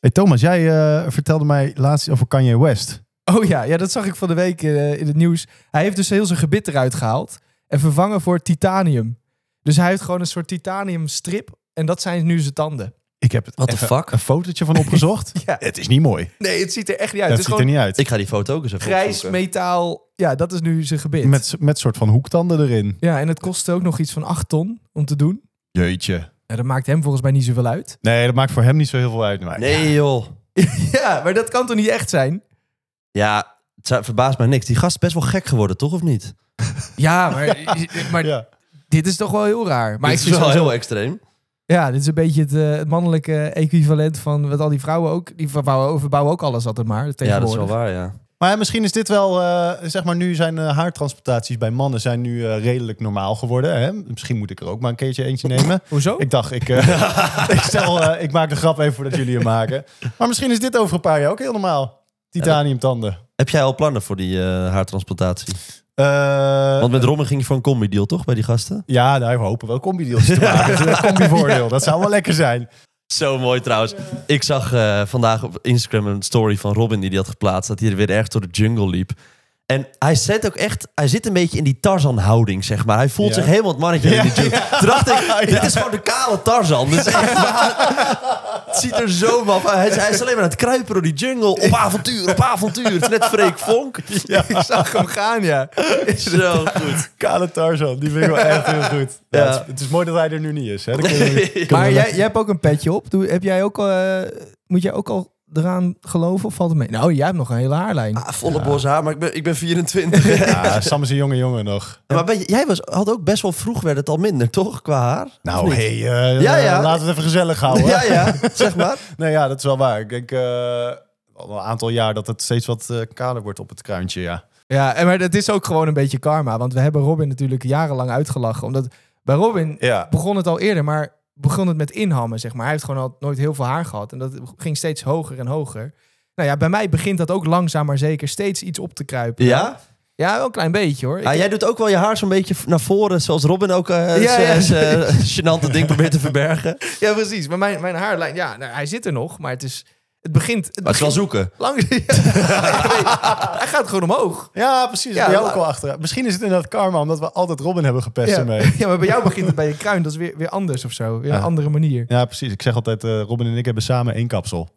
S2: Hey Thomas, jij eh, vertelde mij laatst iets over Kanye West.
S1: Oh ja, ja, dat zag ik van de week eh, in het nieuws. Hij heeft dus heel zijn gebit eruit gehaald en vervangen voor titanium. Dus hij heeft gewoon een soort titaniumstrip en dat zijn nu zijn tanden.
S2: Ik heb het
S3: What the
S2: even
S3: fuck?
S2: een fotootje van opgezocht.
S1: Ja.
S2: Het is niet mooi.
S1: Nee, het ziet er echt niet uit.
S2: het
S1: het
S2: ziet
S1: is
S2: er
S1: gewoon
S2: niet uit.
S3: Ik ga die foto ook eens even
S1: grijs
S3: opzoeken.
S1: metaal. Ja, dat is nu zijn gebit.
S2: Met, met soort van hoektanden erin.
S1: Ja, en het kost ook nog iets van 8 ton om te doen.
S2: Jeetje.
S1: Ja, dat maakt hem volgens mij niet zoveel uit.
S2: Nee, dat maakt voor hem niet zo heel veel uit. Maar
S3: Nee joh.
S1: ja, maar dat kan toch niet echt zijn?
S3: Ja, het zou- verbaast mij niks. Die gast is best wel gek geworden, toch of niet?
S1: Ja, maar, maar
S2: Ja.
S1: dit is toch wel heel raar. Maar
S3: Dit
S1: ik
S3: is
S1: vind
S3: wel
S1: sowieso-
S3: heel extreem.
S1: Ja, dit is een beetje het, eh, het mannelijke equivalent van wat al die vrouwen ook... Die verbouwen, overbouwen ook alles altijd maar,
S3: Ja, dat is wel
S1: tegenwoordig.
S3: waar, ja.
S2: Maar misschien is dit wel, eh, zeg maar, nu zijn eh, haartransplantaties bij mannen zijn nu eh, redelijk normaal geworden. Hè? Misschien moet ik er ook maar een keertje eentje nemen.
S1: Hoezo?
S2: Ik dacht, ik, eh, ik, stel, eh, ik maak de grap even voordat jullie hem maken. Maar misschien is dit over een paar jaar ook heel normaal. Titaniumtanden.
S3: Heb jij al plannen voor die eh, haartransplantatie?
S2: Eh,
S3: Want met Rommel ging je voor een combi deal, toch? Bij die gasten?
S2: ja, nou, we hopen wel combi-deals te maken. Dat is een combi-voordeel. Dat zou wel lekker zijn.
S3: Zo mooi trouwens. Ik zag eh, vandaag op Instagram een story van Robin die die had geplaatst. Dat hij er weer erg door de jungle liep. En hij zit ook echt, hij zit een beetje in die Tarzan-houding, zeg maar. Hij voelt
S2: Ja.
S3: zich helemaal het mannetje in die jungle. Toen dacht ik, dit is gewoon de kale Tarzan. Dit is echt waar. Het ziet er zo maf uit. Hij, is- hij is alleen maar aan het kruipen door die jungle. Op avontuur, op avontuur. Het is net Freek Vonk.
S1: Ik zag hem gaan, ja.
S3: Zo goed.
S2: Kale Tarzan, die vind ik wel echt heel goed.
S3: Ja.
S2: Ja, het, is, het is mooi dat hij er nu niet is. Hè? Dan kunnen we- kunnen we
S1: Maar
S2: lekker-
S1: jij, jij hebt ook een petje op. Doe, heb jij ook, eh, moet jij ook al eraan geloven of valt het mee? Nou, jij hebt nog een hele haarlijn.
S3: Ah, volle bos haar, maar ik ben, ik ben 24.
S2: Ja, Ah, Sam is een jonge jongen nog.
S3: maar ben je- jij was, had ook best wel vroeg, werd het al minder, toch? Qua haar?
S2: Nou, hey, eh,
S3: Ja, ja.
S2: laten we het even gezellig houden.
S3: Ja, ja, zeg maar.
S2: Nee, ja, dat is wel waar. Ik denk eh, al een aantal jaar dat het steeds wat eh, kaler wordt op het kruintje, ja.
S1: Ja, en maar dat is ook gewoon een beetje karma. Want we hebben Robin natuurlijk jarenlang uitgelachen. Omdat bij Robin
S2: Ja.
S1: begon het al eerder, maar begon het met inhammen, zeg maar. Hij heeft gewoon al nooit heel veel haar gehad. En dat ging steeds hoger en hoger. Nou ja, bij mij begint dat ook langzaam maar zeker steeds iets op te kruipen.
S3: Ja?
S1: Ja, wel een klein beetje hoor. Ik-
S3: Ah, jij doet ook wel je haar zo'n beetje v- naar voren, zoals Robin ook eh
S1: Ja, ja.
S3: zijn- zijn eh, gênante ding probeert te verbergen. Maar
S1: Ja, precies. Maar mijn, mijn haarlijn, ja, nou, hij zit er nog. Maar het is, het begint... Het
S3: het is wel
S1: begint
S3: zoeken.
S1: Langs... Ja, nee, hij gaat gewoon omhoog.
S2: Ja, precies.
S1: Ja,
S2: Ja, jou
S1: la-
S2: ook wel achter. Misschien is het inderdaad karma, omdat we altijd Robin hebben gepest
S1: Ja.
S2: ermee.
S1: ja, maar bij jou begint het bij je kruin. Dat is weer, weer anders of zo. Weer een
S2: Ja.
S1: andere manier.
S2: Ja, precies. Ik zeg altijd, eh, Robin en ik hebben samen één kapsel.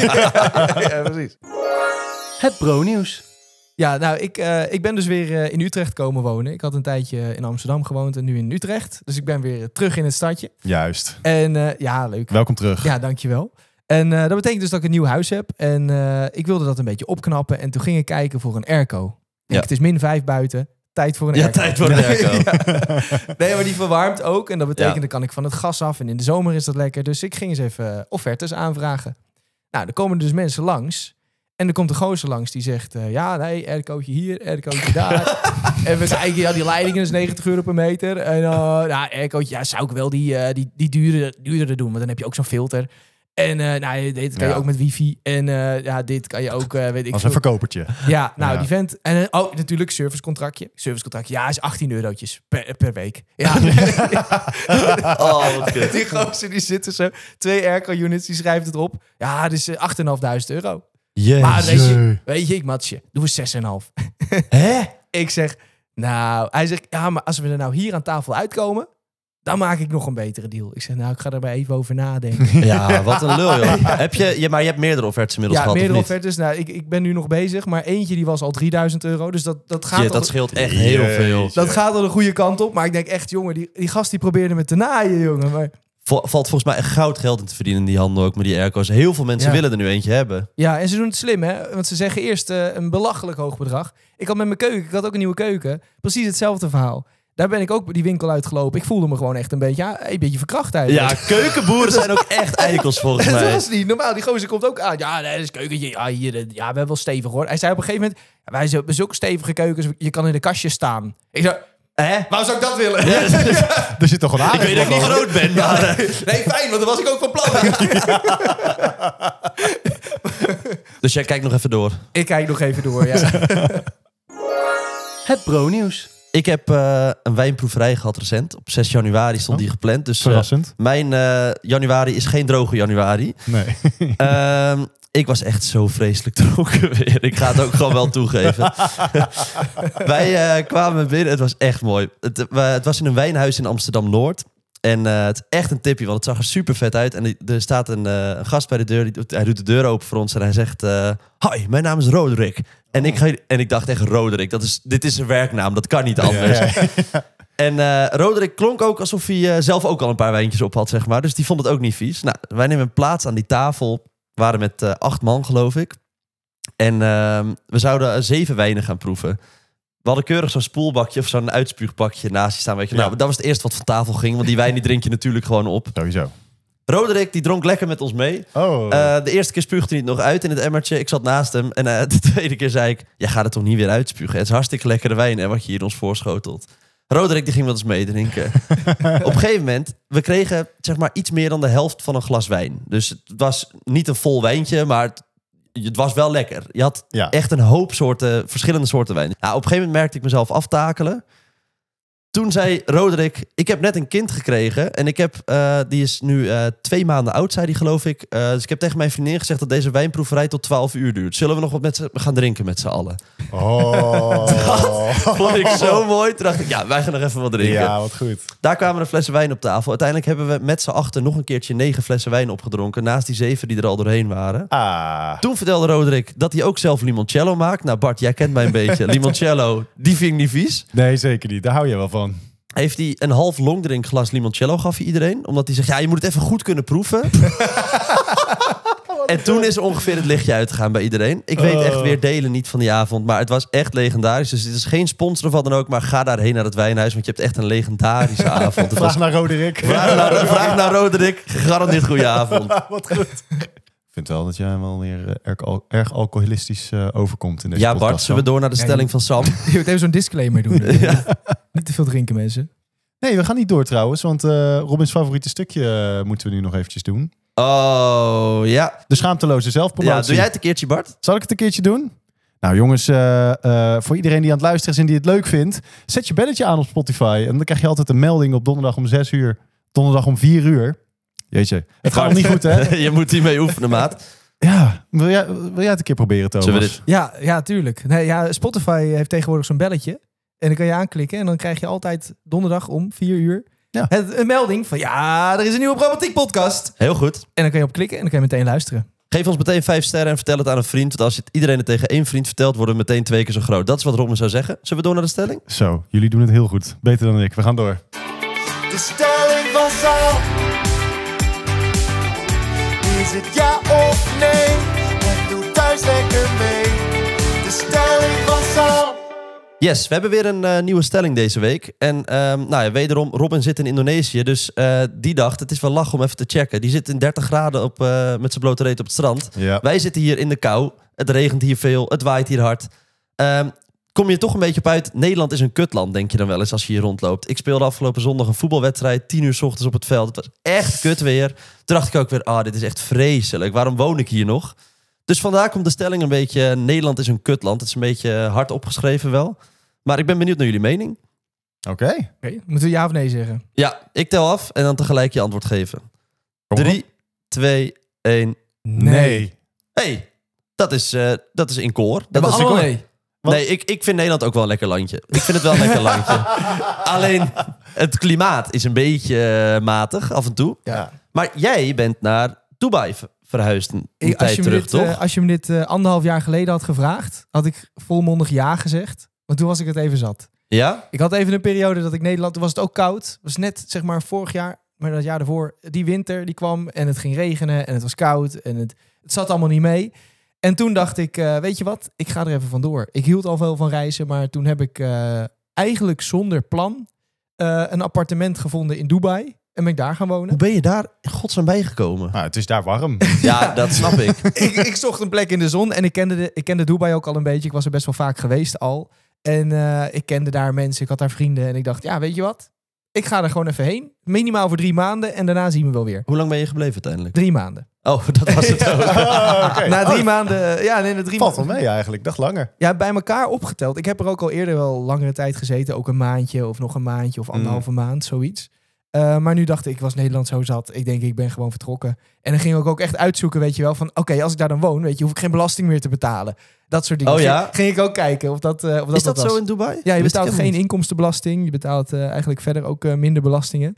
S1: ja, precies.
S4: Het Bro-nieuws.
S1: Ja, nou, ik, eh, ik ben dus weer eh, in Utrecht komen wonen. Ik had een tijdje in Amsterdam gewoond en nu in Utrecht. Dus ik ben weer eh, terug in het stadje.
S2: Juist.
S1: En eh, ja, leuk.
S2: Welkom terug.
S1: Ja, dankjewel. En eh, dat betekent dus dat ik een nieuw huis heb. En eh, ik wilde dat een beetje opknappen. En toen ging ik kijken voor een airco. Ik denk,
S3: Ja.
S1: Het is min 5 buiten. Tijd voor een
S3: Ja,
S1: airco.
S3: tijd voor een airco.
S1: Ja. Nee, maar die verwarmt ook. En dat betekent,
S3: Ja.
S1: dan kan ik van het gas af. En in de zomer is dat lekker. Dus ik ging eens even eh, offertes aanvragen. Nou, dan komen dus mensen langs. En er komt een gozer langs die zegt... eh, ja, nee, aircootje hier, aircootje daar. en we kijken, ja, die leidingen is 90 euro per meter. En eh nou, aircootje, ja, zou ik wel die, eh die, die duurdere, duurdere doen. Want dan heb je ook zo'n filter. En eh nou, dit kan je
S2: Ja.
S1: ook met wifi. En eh, ja, dit kan je ook, eh, weet ik
S2: Als
S1: veel.
S2: een verkopertje.
S1: Ja, nou,
S2: Ja.
S1: die vent. En eh, oh, natuurlijk, servicecontractje. Servicecontractje, ja, is 18 eurotjes per, per week. Ja,
S3: Oh, wat kut.
S1: die gozer die zitten zo. Twee airco-units, die schrijft het op. Ja, het is eh, 8.500 euro. Maar weet je, weet je, ik matje, doe we 6,5.
S3: Hè?
S1: Ik zeg, nou, hij zegt, ja, maar als we er nou hier aan tafel uitkomen, dan maak ik nog een betere deal. Ik zeg, nou, ik ga er maar even over nadenken.
S3: Ja, wat een lul, joh. Heb je, je, maar je hebt meerdere offertes inmiddels
S1: ja,
S3: gehad,
S1: meerdere
S3: of niet?
S1: offertes. Nou, ik, ik ben nu nog bezig, maar eentje die was al 3000 euro. Dus dat, dat gaat
S3: Ja,
S1: al-
S3: dat scheelt echt heel
S2: Jeetje.
S3: veel.
S1: Dat gaat al de goede kant op. Maar ik denk echt, jongen, die, die gast die probeerde me te naaien, jongen. Maar
S3: Vo- valt volgens mij echt goud geld in te verdienen in die handel ook met die airco's. Heel veel mensen
S1: Ja.
S3: willen er nu eentje hebben.
S1: ja, en ze doen het slim, hè? Want ze zeggen eerst eh, een belachelijk hoog bedrag. Ik had met mijn keuken, ik had ook een nieuwe keuken. Precies hetzelfde verhaal. Daar ben ik ook die winkel uitgelopen. Ik voelde me gewoon echt een beetje, ja, een beetje verkracht uit.
S3: Ja, keukenboeren zijn ook echt eikels volgens
S1: Dat
S3: mij.
S1: was niet normaal. Die gozer komt ook aan. Ja, nee, dat is keukentje. Ja, hier, eh, ja, we hebben wel stevig hoor. Hij zei op een gegeven moment, ja, wij hebben zulke stevige keukens. Je kan in de kastjes staan. Ik zei, hè? Waarom zou ik dat willen?
S2: Er zit toch een aardig
S3: Ik weet dat ik niet groot ben, maar... eh,
S1: Nee, fijn, want dat was ik ook van plan.
S3: Dus jij kijkt nog even door.
S1: ik kijk nog even door, ja.
S4: Het Bro-nieuws.
S3: Ik heb eh, een wijnproeverij gehad recent. Op 6 januari stond
S2: Oh.
S3: die gepland. Dus eh,
S2: Verrassend.
S3: mijn eh, januari is geen droge januari.
S2: Nee.
S3: Ehm, ik was echt zo vreselijk dronken weer. Ik ga het ook gewoon wel toegeven. Wij eh, kwamen binnen. Het was echt mooi. Het, eh, we- het was in een wijnhuis in Amsterdam-Noord. En eh, het is echt een tipje, want het zag er super vet uit. En er staat een, eh, een gast bij de deur. Die, doet- hij doet de deur open voor ons en hij zegt... eh Hi, mijn naam is Roderick. En, ik, ga, en ik dacht echt, Roderick, dat is, dit is een werknaam. Dat kan niet anders. En eh Roderick klonk ook alsof hij eh, zelf ook al een paar wijntjes op had, zeg maar. Dus die vond het ook niet vies. Nou, wij nemen plaats aan die tafel. We waren met eh, acht man, geloof ik. En ehm, we zouden eh, zeven wijnen gaan proeven. We hadden keurig zo'n spoelbakje of zo'n uitspuugbakje naast je staan. Weet je. Nou,
S2: Ja.
S3: dat was het eerste wat van tafel ging. Want die wijn die drink je natuurlijk gewoon op.
S2: Sowieso.
S3: Roderick, die dronk lekker met ons mee.
S2: Oh.
S3: Eh, de eerste keer spuugde hij het nog uit in het emmertje. Ik zat naast hem. En eh, de tweede keer zei ik... Jij gaat het toch niet weer uitspugen? Het is hartstikke lekkere wijn, hè, wat je hier ons voorschotelt. Roderick die ging wel eens meedrinken. Op een gegeven moment, we kregen zeg maar iets meer dan de helft van een glas wijn. Dus het was niet een vol wijntje, maar het, het was wel lekker. Je had
S2: ja.
S3: echt een hoop soorten, verschillende soorten wijn. Nou, op een gegeven moment merkte ik mezelf aftakelen. Toen zei Roderick, ik heb net een kind gekregen. En ik heb, eh, die is nu eh, twee maanden oud, zei die geloof ik. Eh, dus ik heb tegen mijn vriendin gezegd dat deze wijnproeverij tot 12 uur duurt. Zullen we nog wat met z'n- gaan drinken met z'n allen?
S2: Oh.
S3: Vond ik zo mooi. Toen dacht ik, ja, wij gaan nog even wat drinken.
S2: Ja, wat goed.
S3: Daar kwamen de flessen wijn op tafel. Uiteindelijk hebben we met z'n achter nog een keertje negen flessen wijn opgedronken. Naast die zeven die er al doorheen waren.
S2: Ah.
S3: Toen vertelde Roderick dat hij ook zelf limoncello maakt. Nou Bart, jij kent mij een beetje. Limoncello, die vind ik niet vies.
S2: Nee, zeker niet. Daar hou je wel van.
S3: Heeft hij een half longdrinkglas limoncello gaf hij iedereen. Omdat hij zegt, ja, je moet het even goed kunnen proeven. en toen is er ongeveer het lichtje uitgegaan bij iedereen. Ik weet echt weer delen niet van die avond. Maar het was echt legendarisch. Dus dit is geen sponsor of wat dan ook. Maar ga daarheen naar het wijnhuis. Want je hebt echt een legendarische avond. Het was
S2: Vraag naar Roderick.
S3: Vraag naar, vraag naar Roderick. Gegarandeerd goede avond.
S2: Wat goed. Ik vind wel dat jij hem wel weer eh, erg, al- erg alcoholistisch eh, overkomt in deze
S3: Ja,
S2: podcast.
S3: Bart, zullen we door naar de
S1: Ja,
S3: stelling van Sam?
S1: Je moet even zo'n disclaimer doen. Niet te veel drinken, mensen.
S2: Nee, we gaan niet door trouwens, want eh, Robins favoriete stukje eh, moeten we nu nog eventjes doen.
S3: Oh, ja.
S2: De schaamteloze
S3: ja.
S2: zelfpromotie.
S3: Doe jij het een keertje, Bart?
S2: Zal ik het een keertje doen? Nou jongens, eh, eh, voor iedereen die aan het luisteren is en die het leuk vindt, zet je belletje aan op Spotify. En dan krijg je altijd een melding op donderdag om 6 uur, donderdag om 4 uur. Jeetje, het gaat nog niet goed hè?
S3: je moet hiermee oefenen, maat.
S2: Ja, wil jij, wil jij het een keer proberen Thomas?
S3: Zullen we dit...
S1: Ja, ja tuurlijk. Nee, ja, Spotify heeft tegenwoordig zo'n belletje. En dan kan je aanklikken en dan krijg je altijd donderdag om 4 uur
S2: Ja.
S1: het, een melding van ja, er is een nieuwe Romantiek podcast.
S3: Heel goed.
S1: En dan kan je op klikken en dan kan je meteen luisteren.
S3: Geef ons meteen vijf sterren en vertel het aan een vriend. Want als je het iedereen het tegen één vriend vertelt, worden we meteen twee keer zo groot. Dat is wat Robin zou zeggen. Zullen we door naar de stelling?
S2: Zo, jullie doen het heel goed. Beter dan ik. We gaan door.
S4: De stelling van Sam. Is het ja of nee? En doe thuis lekker mee. De stelling van Sam.
S3: Yes, we hebben weer een eh, nieuwe stelling deze week. En ehm, nou ja, wederom, Robin zit in Indonesië. Dus eh, die dacht, het is wel lach om even te checken. Die zit in 30 graden op, eh, met zijn blote reet op het strand.
S2: Ja.
S3: Wij zitten hier in de kou. Het regent hier veel. Het waait hier hard. Ehm, kom je toch een beetje op uit. Nederland is een kutland, denk je dan wel eens als je hier rondloopt. Ik speelde afgelopen zondag een voetbalwedstrijd. 10 uur 's ochtends op het veld. Het was echt kut weer. Toen dacht ik ook weer, ah, dit is echt vreselijk. Waarom woon ik hier nog? Dus vandaar komt de stelling een beetje... eh, Nederland is een kutland. Het is een beetje eh, hard opgeschreven wel. Maar ik ben benieuwd naar jullie mening.
S2: Oké.
S1: Oké, Moeten we ja of nee zeggen?
S3: Ja, ik tel af en dan tegelijk je antwoord geven. 3, 2, 1. hey, dat is, eh, dat is in koor. Dat
S1: Dat
S3: is
S1: is
S3: in koor.
S1: nee.
S2: Want-
S3: Nee, ik, ik vind Nederland ook wel een lekker landje. Ik vind het wel een lekker landje. Alleen, het klimaat is een beetje eh, matig af en toe.
S1: Ja.
S3: Maar jij bent naar Dubai ver- verhuisd een
S1: Ik-
S3: een
S1: als,
S3: tijd
S1: je me
S3: terug,
S1: dit,
S3: toch?
S1: eh, als je me dit eh, anderhalf jaar geleden had gevraagd, had ik volmondig ja gezegd. Want toen was ik het even zat.
S3: ja?
S1: Ik had even een periode dat ik Nederland, toen was het ook koud. was net zeg maar vorig jaar, maar dat jaar daarvoor, die winter die kwam en het ging regenen en het was koud en het, het zat allemaal niet mee. En toen dacht ik, eh, weet je wat, ik ga er even vandoor. Ik hield al veel van reizen, maar toen heb ik eh, eigenlijk zonder plan eh, een appartement gevonden in Dubai. En ben ik daar gaan wonen.
S3: Hoe ben je daar in godsnaam bijgekomen?
S2: Nou, het is daar warm.
S3: Ja, dat snap ik.
S1: ik, ik zocht een plek in de zon en ik kende, de, ik kende Dubai ook al een beetje. Ik was er best wel vaak geweest al. En eh, ik kende daar mensen, ik had daar vrienden. En ik dacht, ja, weet je wat? Ik ga er gewoon even heen. Minimaal voor drie maanden. En daarna zien we wel weer.
S3: Hoe lang ben je gebleven uiteindelijk?
S1: Drie maanden.
S3: Oh, dat was het ook.
S2: Oh, oké.
S1: Na
S2: Oh,
S1: drie maanden. eh, Ja, nee, na drie
S2: valt wel
S1: maanden.
S2: mee eigenlijk. Ik dacht langer.
S1: Ja, bij elkaar opgeteld. Ik heb er ook al eerder wel langere tijd gezeten. Ook een maandje of nog een maandje
S3: Mm.
S1: of anderhalve maand, zoiets. Eh, maar nu dacht ik, ik was Nederland zo zat. Ik denk, ik ben gewoon vertrokken. En dan ging ik ook echt uitzoeken, weet je wel, van oké, als ik daar dan woon, weet je, hoef ik geen belasting meer te betalen. Dat soort dingen.
S3: Oh ja?
S1: Ging, ging ik ook kijken of dat, eh, of dat,
S3: Is dat
S1: was.
S3: zo in Dubai?
S1: Ja, je
S3: Wist ik
S1: betaalt
S3: helemaal
S1: geen
S3: niet.
S1: inkomstenbelasting. Je betaalt eh, eigenlijk verder ook eh, minder belastingen.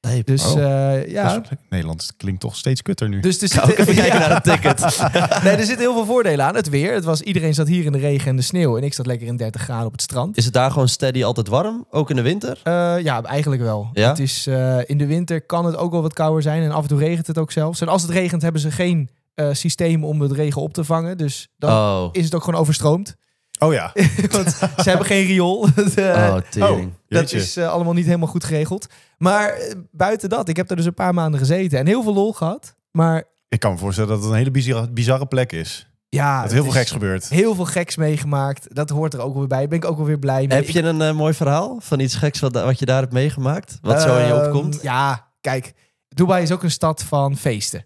S3: Nee,
S1: Dus
S3: oh.
S1: eh, ja.
S2: Dus Nederland klinkt toch steeds kutter nu.
S1: Dus, dus
S3: Ook even kijken naar het ticket.
S1: nee, er zitten heel veel voordelen aan. Het weer. Het was, iedereen zat hier in de regen en de sneeuw. En ik zat lekker in 30 graden op het strand.
S3: Is het daar gewoon steady altijd warm? Ook in de winter?
S1: Eh, ja, eigenlijk wel.
S3: Ja?
S1: Het is, eh, in de winter kan het ook wel wat kouder zijn. En af en toe regent het ook zelfs. En als het regent hebben ze geen eh, systeem om het regen op te vangen. Dus dan
S3: Oh.
S1: is het ook gewoon overstroomd.
S2: Oh ja.
S1: Want ze hebben geen riool. De-
S3: Oh, tering.
S1: dat
S2: jeetje.
S1: is eh, allemaal niet helemaal goed geregeld. Maar eh, buiten dat, ik heb er dus een paar maanden gezeten. En heel veel lol gehad. Maar
S2: Ik kan me voorstellen dat het een hele bizarre, bizarre plek is.
S1: ja,
S2: dat heel veel
S1: het
S2: geks
S1: is
S2: gebeurt.
S1: Heel veel geks meegemaakt. Dat hoort er ook weer bij. Daar ben ik ook wel weer blij mee.
S3: Heb je een eh, mooi verhaal van iets geks wat, da- wat je daar hebt meegemaakt? Wat zo in je
S1: Ehm,
S3: opkomt?
S1: Ja, kijk, Dubai is ook een stad van feesten.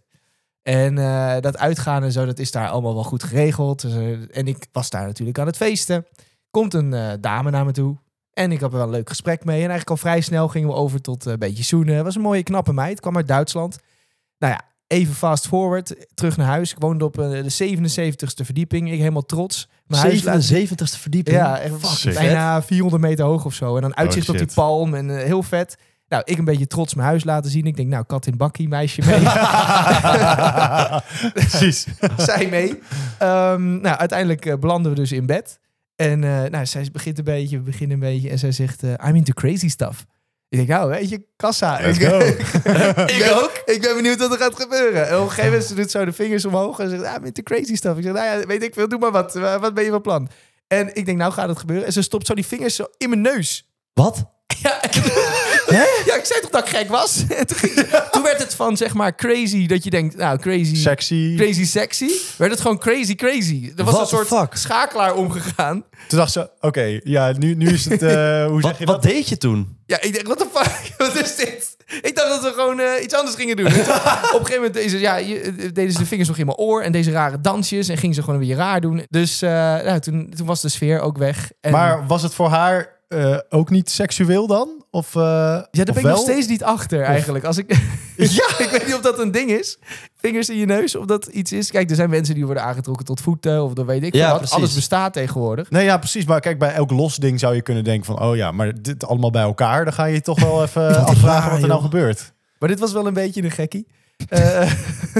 S1: En eh, dat uitgaan en zo, dat is daar allemaal wel goed geregeld. Dus, eh, en ik was daar natuurlijk aan het feesten. Komt een eh, dame naar me toe. En ik had er wel een leuk gesprek mee. En eigenlijk al vrij snel gingen we over tot eh, een beetje zoenen. Het was een mooie, knappe meid. Kwam uit Duitsland. Nou ja, even fast forward. Terug naar huis. Ik woonde op eh, de 77ste verdieping. Ik helemaal trots. Mijn huis laten-
S3: 77ste verdieping.
S1: ja, echt fuck,
S2: Sick.
S1: bijna 400 meter hoog of zo. En dan uitzicht
S2: Oh,
S1: op die
S2: shit.
S1: palm en eh, heel vet. Nou, ik een beetje trots mijn huis laten zien. Ik denk, nou, kat in bakkie, meisje mee.
S2: Precies.
S1: zij mee. Ehm, nou, uiteindelijk eh, belanden we dus in bed. En eh, nou, zij begint een beetje, we beginnen een beetje. En zij zegt, eh, I'm into crazy stuff. Ik denk, nou, weet je, kassa.
S2: Let's
S1: Ik-
S2: go.
S1: ik ook. Ik ben benieuwd wat er gaat gebeuren. En op een gegeven moment ze doet zo de vingers omhoog en zegt, ah, met de crazy stuff. Ik zeg, nou ja, weet ik veel, doe maar wat. Eh, Wat ben je van plan? En ik denk, nou gaat het gebeuren. En ze stopt zo die vingers zo in mijn neus.
S3: Wat?
S1: Ja, ja ik zei toch dat ik gek was? En toen, ging ze- toen werd het van, zeg maar, crazy, dat je denkt, nou, crazy...
S2: Sexy.
S1: Crazy sexy, werd het gewoon crazy crazy. Er was
S3: What
S1: een
S3: the
S1: soort
S3: fuck?
S1: schakelaar omgegaan.
S2: Toen dacht ze, oké, ja, nu, nu is het... eh, hoe zeg
S3: Wat,
S2: je
S3: wat
S2: dat?
S3: deed je toen?
S1: Ja, ik denk, wat de fuck? Wat is dit? Ik dacht dat we gewoon eh, iets anders gingen doen. op een gegeven moment deze, ja, je- eh, deden ze de vingers nog in mijn oor en deze rare dansjes en gingen ze gewoon een beetje raar doen. Dus eh, nou, toen, toen was de sfeer ook weg. En,
S2: Maar was het voor haar eh, ook niet seksueel dan? Of, eh,
S1: ja, daar
S2: of
S1: ben ik
S2: wel?
S1: nog steeds niet achter eigenlijk. Als ik, ja, ik weet niet of dat een ding is. Vingers in je neus, of dat iets is. Kijk, er zijn mensen die worden aangetrokken tot voeten of dan weet ik
S3: Ja,
S1: veel wat.
S3: precies.
S1: Alles bestaat tegenwoordig.
S2: Nee, ja, precies. Maar kijk, bij elk los ding zou je kunnen denken van... oh ja, maar dit allemaal bij elkaar... dan ga je je toch wel even afvragen wat er nou gebeurt.
S1: Maar dit was wel een beetje een gekkie. Eh,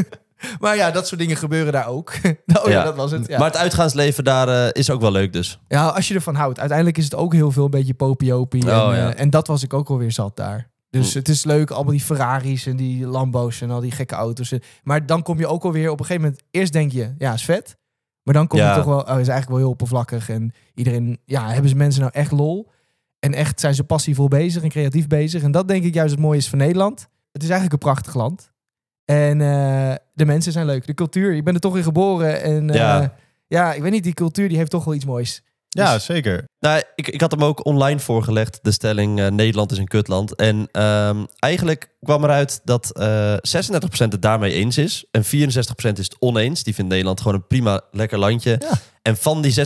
S1: maar ja, dat soort dingen gebeuren daar ook. nou ja,
S3: Ja.
S1: dat was het. Ja.
S3: Maar het uitgaansleven daar eh, is ook wel leuk dus.
S1: Ja, als je ervan houdt. Uiteindelijk is het ook heel veel een beetje popiopie. en,
S3: Oh, ja. Hm.
S1: eh, en dat was ik ook alweer zat daar. Dus het is leuk, allemaal die Ferraris en die Lambo's en al die gekke auto's. En- Maar dan kom je ook alweer op een gegeven moment... Eerst denk je, ja, is vet. Maar dan kom je
S3: Ja.
S1: toch wel... Oh, is eigenlijk wel heel oppervlakkig. En iedereen... Ja, hebben ze mensen nou echt lol? En echt zijn ze passievol bezig en creatief bezig? En dat denk ik juist het mooie is van Nederland. Het is eigenlijk een prachtig land. En eh, de mensen zijn leuk. De cultuur, je bent er toch in geboren. En eh, ja.
S3: Ja.
S1: ik weet niet, die cultuur die heeft toch wel iets moois. Dus-
S2: Ja, zeker.
S3: Nou, ik, ik had hem ook online voorgelegd, de stelling eh, Nederland is een kutland. En ehm, eigenlijk kwam eruit dat eh 36% het daarmee eens is. En 64% is het oneens. Die vindt Nederland gewoon een prima, lekker landje.
S2: Ja.
S3: En van die 36%,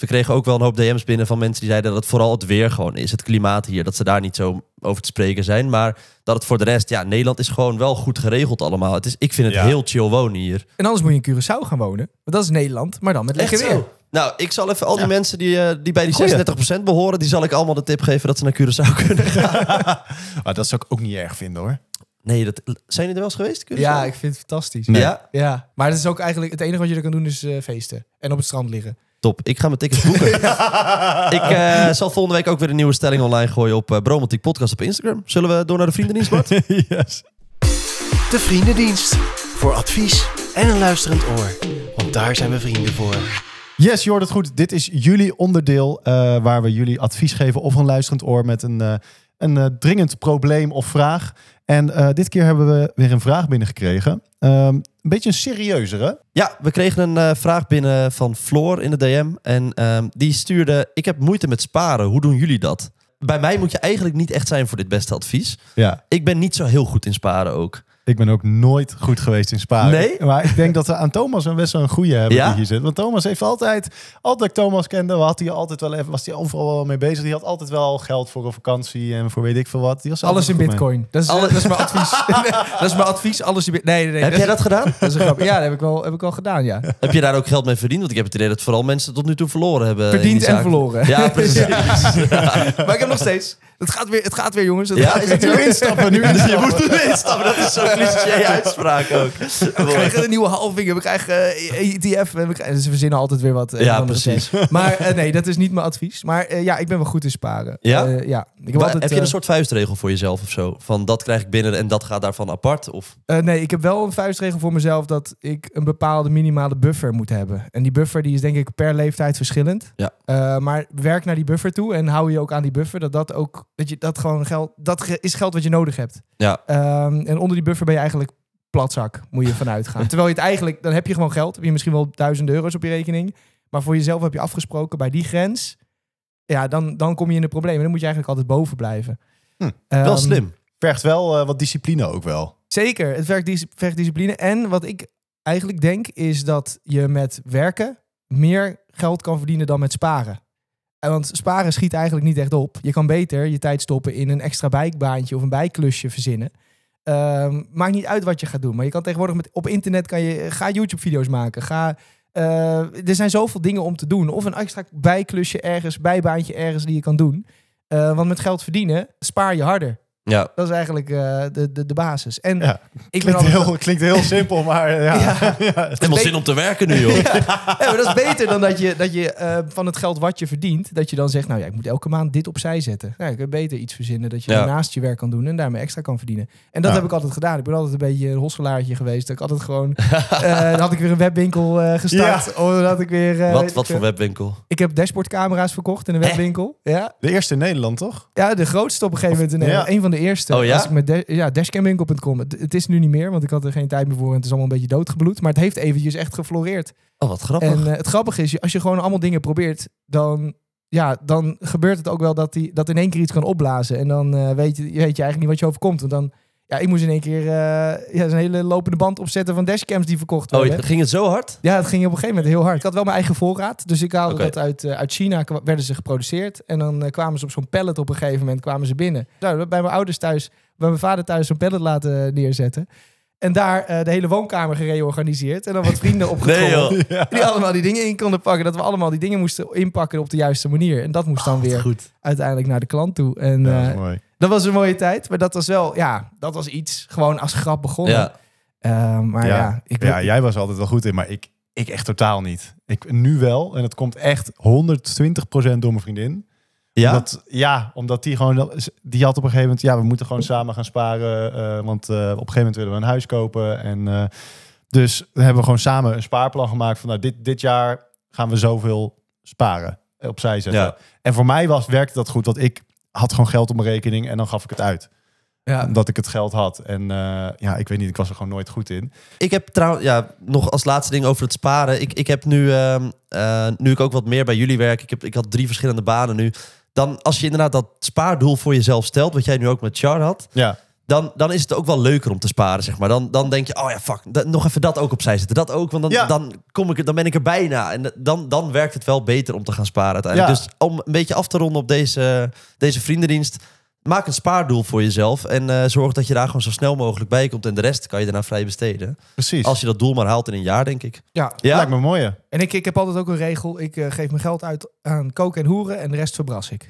S3: we kregen ook wel een hoop DM's binnen van mensen die zeiden dat het vooral het weer gewoon is. Het klimaat hier, dat ze daar niet zo over te spreken zijn. Maar dat het voor de rest, ja, Nederland is gewoon wel goed geregeld allemaal. Het is, ik vind het
S2: Ja.
S3: heel chill wonen hier.
S1: En anders moet je in Curaçao gaan wonen. Want dat is Nederland, maar dan met lekker weer.
S3: Nou, ik zal even al die mensen die, eh, die bij die
S2: Goeie.
S3: 36% behoren, die zal ik allemaal de tip geven dat ze naar Curaçao kunnen.
S2: Maar Ah, dat zou ik ook niet erg vinden, hoor.
S3: Nee, dat, zijn jullie er wel eens geweest? Curaçao?
S1: Ja, ik vind het fantastisch.
S2: Nee.
S3: Ja,
S1: Ja, maar het is ook eigenlijk het enige wat je er kan doen is eh, feesten en op het strand liggen.
S3: top. Ik ga mijn tickets boeken. ik eh, zal volgende week ook weer een nieuwe stelling online gooien op eh Bromantiek Podcast op Instagram. Zullen we door naar de vriendendienst, Bart?
S2: yes.
S7: De Vriendendienst. Voor advies en een luisterend oor. Want daar zijn we vrienden voor.
S2: Yes, je hoort het goed. Dit is jullie onderdeel eh, waar we jullie advies geven of een luisterend oor met een, eh, een eh, dringend probleem of vraag. En eh, dit keer hebben we weer een vraag binnengekregen. Ehm een beetje een serieuzere.
S3: Ja, we kregen een eh, vraag binnen van Floor in de DM. En ehm, die stuurde: Ik heb moeite met sparen. Hoe doen jullie dat? bij mij moet je eigenlijk niet echt zijn voor dit beste advies.
S2: Ja,
S3: Ik ben niet zo heel goed in sparen ook.
S2: ik ben ook nooit goed geweest in sparen.
S3: Nee?
S2: Maar ik denk dat we aan Thomas en best wel een goede hebben
S3: Ja?
S2: die hier zit. Want Thomas heeft altijd, altijd dat ik Thomas kende, had hij altijd wel even, was hij overal wel mee bezig. Die had altijd wel geld voor een vakantie en voor weet ik veel wat. Die was
S1: Alles in
S2: altijd goed mee.
S1: bitcoin. Dat is, eh,
S3: Alle-
S1: dat is mijn advies. dat is mijn advies. Alles in bitcoin. Nee, nee, nee.
S3: Heb jij dat gedaan?
S1: Dat is een grap. Ja, dat heb ik wel, heb ik wel gedaan, ja.
S3: Heb je daar ook geld mee verdiend? Want ik heb het idee dat vooral mensen tot nu toe verloren hebben. in die
S1: Verdiend en
S3: zaak.
S1: verloren.
S3: Ja, precies.
S1: Maar ik heb nog steeds. Het gaat weer, het gaat weer jongens. Het
S3: Ja,
S1: gaat
S3: is
S1: weer.
S3: het zo?
S2: Instappen nu.
S3: Je moet erin stappen. Dat is zo'n cliché uitspraak ook.
S1: We krijgen een nieuwe halving. en We krijgen eh, ETF. en We krijgen, ze verzinnen altijd weer wat. eh,
S3: Ja,
S1: van de
S3: precies.
S1: recept. Maar eh, nee, dat is niet mijn advies. Maar eh, ja, ik ben wel goed in sparen.
S3: Ja?
S1: Eh, ja. Ik heb,
S3: Maar
S1: altijd,
S3: heb je
S1: eh,
S3: een soort vuistregel voor jezelf of zo? Van dat krijg ik binnen en dat gaat daarvan apart? Of
S1: eh, nee, ik heb wel een vuistregel voor mezelf dat ik een bepaalde minimale buffer moet hebben. En die buffer die is denk ik per leeftijd verschillend.
S3: Ja.
S1: Eh, maar werk naar die buffer toe en hou je ook aan die buffer. Dat dat ook, dat je dat gewoon geld, dat ge- is geld wat je nodig hebt.
S3: Ja.
S1: Ehm, en onder die buffer ben je eigenlijk platzak, moet je vanuit gaan. Terwijl je het eigenlijk, dan heb je gewoon geld. Heb je misschien wel duizend euro's op je rekening. Maar voor jezelf heb je afgesproken bij die grens. Ja, dan, dan kom je in de problemen. Dan moet je eigenlijk altijd boven blijven.
S2: Hm,
S1: Ehm,
S3: wel slim.
S2: Vergt wel eh, wat discipline ook wel.
S1: Zeker, het vergt, dis- vergt discipline. En wat ik eigenlijk denk, is dat je met werken meer geld kan verdienen dan met sparen. En want sparen schiet eigenlijk niet echt op. Je kan beter je tijd stoppen in een extra bijbaantje of een bijklusje verzinnen. Ehm, maakt niet uit wat je gaat doen. Maar je kan tegenwoordig met, op internet kan je, ga YouTube-video's maken. Ga, eh, er zijn zoveel dingen om te doen. Of een extra bijklusje ergens, bijbaantje ergens die je kan doen. Eh, want met geld verdienen spaar je harder.
S3: Ja.
S1: Dat is eigenlijk eh, de, de, de basis. En
S2: Ja.
S1: ik ben
S2: Klinkt
S1: altijd...
S2: heel, klinkt heel simpel, maar eh, ja.
S1: Ja.
S3: Helemaal zin om te werken nu, joh.
S1: Ja, maar dat is beter dan dat je, dat je eh, van het geld wat je verdient, dat je dan zegt, nou ja, ik moet elke maand dit opzij zetten. Nou, ik kan beter iets verzinnen dat je
S3: Ja.
S1: naast je werk kan doen en daarmee extra kan verdienen. En dat
S2: Ja.
S1: heb ik altijd gedaan. Ik ben altijd een beetje een hosselaartje geweest. Dat Ik altijd gewoon, eh, dan had ik weer een webwinkel eh, gestart. Of dan had ik weer... eh,
S3: Wat, wat
S1: ik,
S3: voor
S1: eh,
S3: webwinkel?
S1: Ik heb dashboardcamera's verkocht in een webwinkel. Ja.
S2: De eerste in Nederland, toch?
S1: Ja, de grootste op een gegeven moment. in Nederland.
S2: ja.
S1: Een van de eerste.
S3: Oh ja?
S1: Als ik met da- ja, dashcamwinkel.com. Het, het is nu niet meer, want ik had er geen tijd meer voor. En het is allemaal een beetje doodgebloed. Maar het heeft eventjes echt gefloreerd.
S3: Oh, wat grappig.
S1: En eh, het grappige is, je- als je gewoon allemaal dingen probeert, dan, ja, dan gebeurt het ook wel dat, die, dat in één keer iets kan opblazen. En dan eh, weet, je, weet je eigenlijk niet wat je overkomt. Want dan, ja, ik moest in één keer eh, ja, een hele lopende band opzetten van dashcams die verkocht
S3: oh,
S1: werden.
S3: je- ging het zo hard?
S1: Ja, het ging op een gegeven moment heel hard. Ik had wel mijn eigen voorraad. Dus ik haalde
S3: Oké.
S1: dat uit, eh, uit China, kwa- werden ze geproduceerd. En dan eh, kwamen ze op zo'n pallet op een gegeven moment kwamen ze binnen. Nou, bij mijn ouders thuis, bij mijn vader thuis zo'n pallet laten neerzetten. En daar eh, de hele woonkamer gereorganiseerd. En dan wat vrienden
S3: Nee,
S1: opgekomen.
S3: joh.
S1: Die allemaal die dingen in konden pakken. Dat we allemaal die dingen moesten inpakken op de juiste manier. En dat moest dan weer
S3: Goed.
S1: uiteindelijk naar de klant toe. En
S2: Ja, dat
S1: eh,
S2: is mooi.
S1: dat was een mooie tijd. Maar dat was wel, ja, dat was iets. Gewoon als grap begonnen.
S3: Ja.
S1: Eh, maar ja, ik
S2: ja, jij was er altijd wel goed in, maar ik, ik echt totaal niet. Ik nu wel, en het komt echt 120% door mijn vriendin.
S3: Ja?
S2: Omdat, ja, omdat die gewoon, die had op een gegeven moment, ja, we moeten gewoon samen gaan sparen, eh, want eh, op een gegeven moment willen we een huis kopen. En eh, dus dan hebben we gewoon samen een spaarplan gemaakt van, nou, dit, dit jaar gaan we zoveel sparen, eh, opzij zetten.
S3: Ja.
S2: En voor mij was, werkte dat goed, want ik had gewoon geld op mijn rekening en dan gaf ik het uit.
S1: ja.
S2: Omdat ik het geld had. En eh, ja, ik weet niet, ik was er gewoon nooit goed in.
S3: Ik heb trouwens, ja, nog als laatste ding over het sparen. Ik, ik heb nu, ehm, eh, nu ik ook wat meer bij jullie werk, ik, heb, ik had drie verschillende banen nu. Dan als je inderdaad dat spaardoel voor jezelf stelt, wat jij nu ook met Char had,
S2: Ja.
S3: dan, dan is het ook wel leuker om te sparen, zeg maar. Dan, dan denk je, oh ja, fuck, da- nog even dat ook opzij zetten. Dat ook, want dan,
S2: Ja.
S3: dan, kom ik, er- dan ben ik er bijna. En dan, dan werkt het wel beter om te gaan sparen uiteindelijk.
S2: Ja.
S3: Dus om een beetje af te ronden op deze, deze vriendendienst... maak een spaardoel voor jezelf en eh, zorg dat je daar gewoon zo snel mogelijk bij komt. En de rest kan je daarna vrij besteden.
S2: Precies.
S3: Als je dat doel maar haalt in een jaar, denk ik.
S1: ja.
S3: Ja,
S2: Lijkt me een mooie.
S1: En ik, ik heb altijd ook een regel. Ik eh, geef mijn geld uit aan koken en hoeren en de rest verbras ik.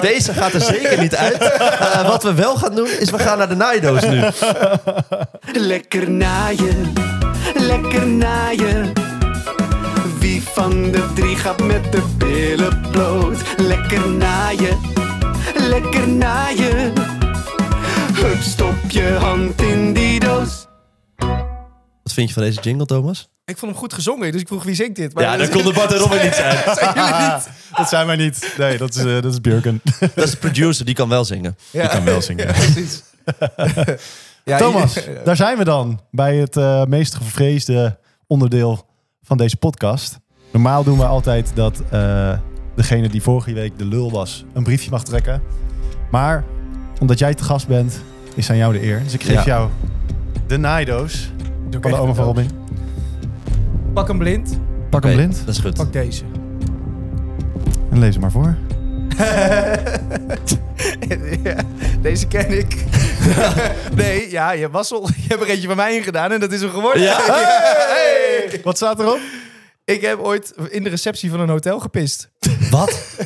S3: deze gaat er zeker niet uit. Eh, wat we wel gaan doen, is we gaan naar de naaidoos nu.
S7: Lekker naaien, lekker naaien. Wie van de drie gaat met de billen bloot? Lekker naaien, lekker naaien. Hup, stop je hand in die doos.
S3: Wat vind je van deze jingle, Thomas?
S1: ik vond hem goed gezongen, dus ik vroeg wie zingt dit. Maar
S3: de Bart en Robin niet zijn.
S2: Dat zijn wij niet. Nee, dat is, eh, dat is Björken.
S3: Dat is de producer, die kan wel zingen.
S1: Ja.
S2: kan wel zingen.
S1: Ja, precies. Ja,
S2: Thomas,
S1: i-
S2: daar zijn we dan. Bij het eh, meest gevreesde onderdeel van deze podcast. Normaal doen we altijd dat eh, degene die vorige week de lul was, een briefje mag trekken. Maar omdat jij te gast bent, is aan jou de eer. Dus ik geef
S3: Ja.
S2: jou de naaidoos van de oma van Robin.
S1: Pak hem blind.
S2: Pak hem blind
S3: Dat is goed.
S1: Pak deze.
S2: en lees hem maar voor.
S1: Ja, deze ken ik. nee, ja, je was al. Je hebt er eentje van mij ingedaan en dat is hem geworden.
S3: Ja?
S1: Hey!
S2: Wat staat erop?
S1: Ik heb ooit in de receptie van een hotel gepist.
S3: Wat?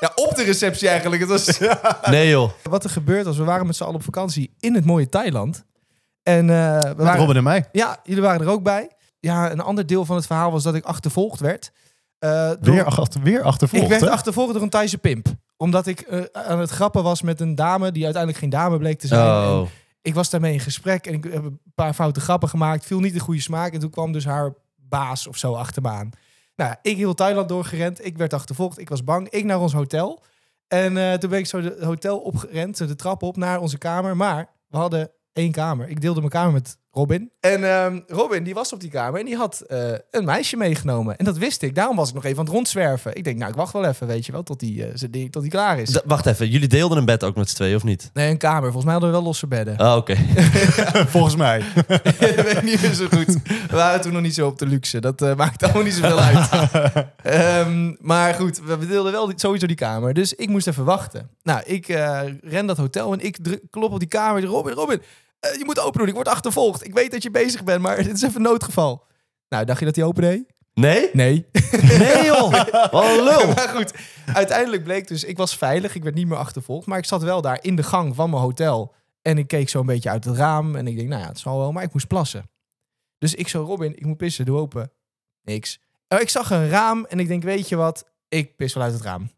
S1: Ja, op de receptie eigenlijk. Het was...
S3: Nee joh.
S1: Wat er gebeurd was, we waren met z'n allen op vakantie in het mooie Thailand. En eh, we
S2: Met
S1: waren
S2: Robin en mij.
S1: Ja, jullie waren er ook bij. Ja, een ander deel van het verhaal was dat ik achtervolgd werd. Eh, door-
S2: Weer, achter, weer achtervolgd,
S1: ik werd
S2: hè?
S1: achtervolgd door een Thaise pimp. Omdat ik eh, aan het grappen was met een dame die uiteindelijk geen dame bleek te zijn. En
S3: Oh.
S1: Ik was daarmee in gesprek en ik heb een paar foute grappen gemaakt. Viel niet de goede smaak en toen kwam dus haar baas of zo achter me aan. Nou ja, ik heel Thailand doorgerend. Ik werd achtervolgd. Ik was bang. Ik naar ons hotel. En eh, toen ben ik zo het hotel opgerend, de trap op naar onze kamer. Maar we hadden één kamer. Ik deelde mijn kamer met Robin. En ehm, Robin, die was op die kamer en die had eh, een meisje meegenomen. En dat wist ik. Daarom was ik nog even aan het rondzwerven. Ik denk, nou, ik wacht wel even, weet je wel, tot die, eh, zijn ding- tot die klaar is.
S3: D- wacht even, jullie deelden een bed ook met z'n tweeën of niet?
S1: nee, een kamer. Volgens mij hadden we wel losse bedden.
S3: Oh, oké.
S2: Volgens mij.
S1: dat weet ik niet meer zo goed. We waren toen nog niet zo op de luxe. Dat eh, maakt allemaal niet zoveel uit. Ehm, maar goed, we deelden wel die- sowieso die kamer. Dus ik moest even wachten. Nou, ik eh, ren dat hotel en ik druk- klop op die kamer. Robin, Robin, eh, je moet open doen. Ik word achtervolgd. Ik weet dat je bezig bent, maar dit is even een noodgeval. Nou, dacht je dat hij open deed?
S3: Nee?
S1: Nee.
S3: Nee joh. Wat een lul.
S1: Maar goed, uiteindelijk bleek dus, ik was veilig, ik werd niet meer achtervolgd, maar ik zat wel daar in de gang van mijn hotel. En ik keek zo een beetje uit het raam en ik denk, nou ja, het zal wel, maar ik moest plassen. Dus ik zo, Robin, ik moet pissen, doe open. Niks. Eh, Ik zag een raam en ik denk, weet je wat, ik pis wel uit het raam.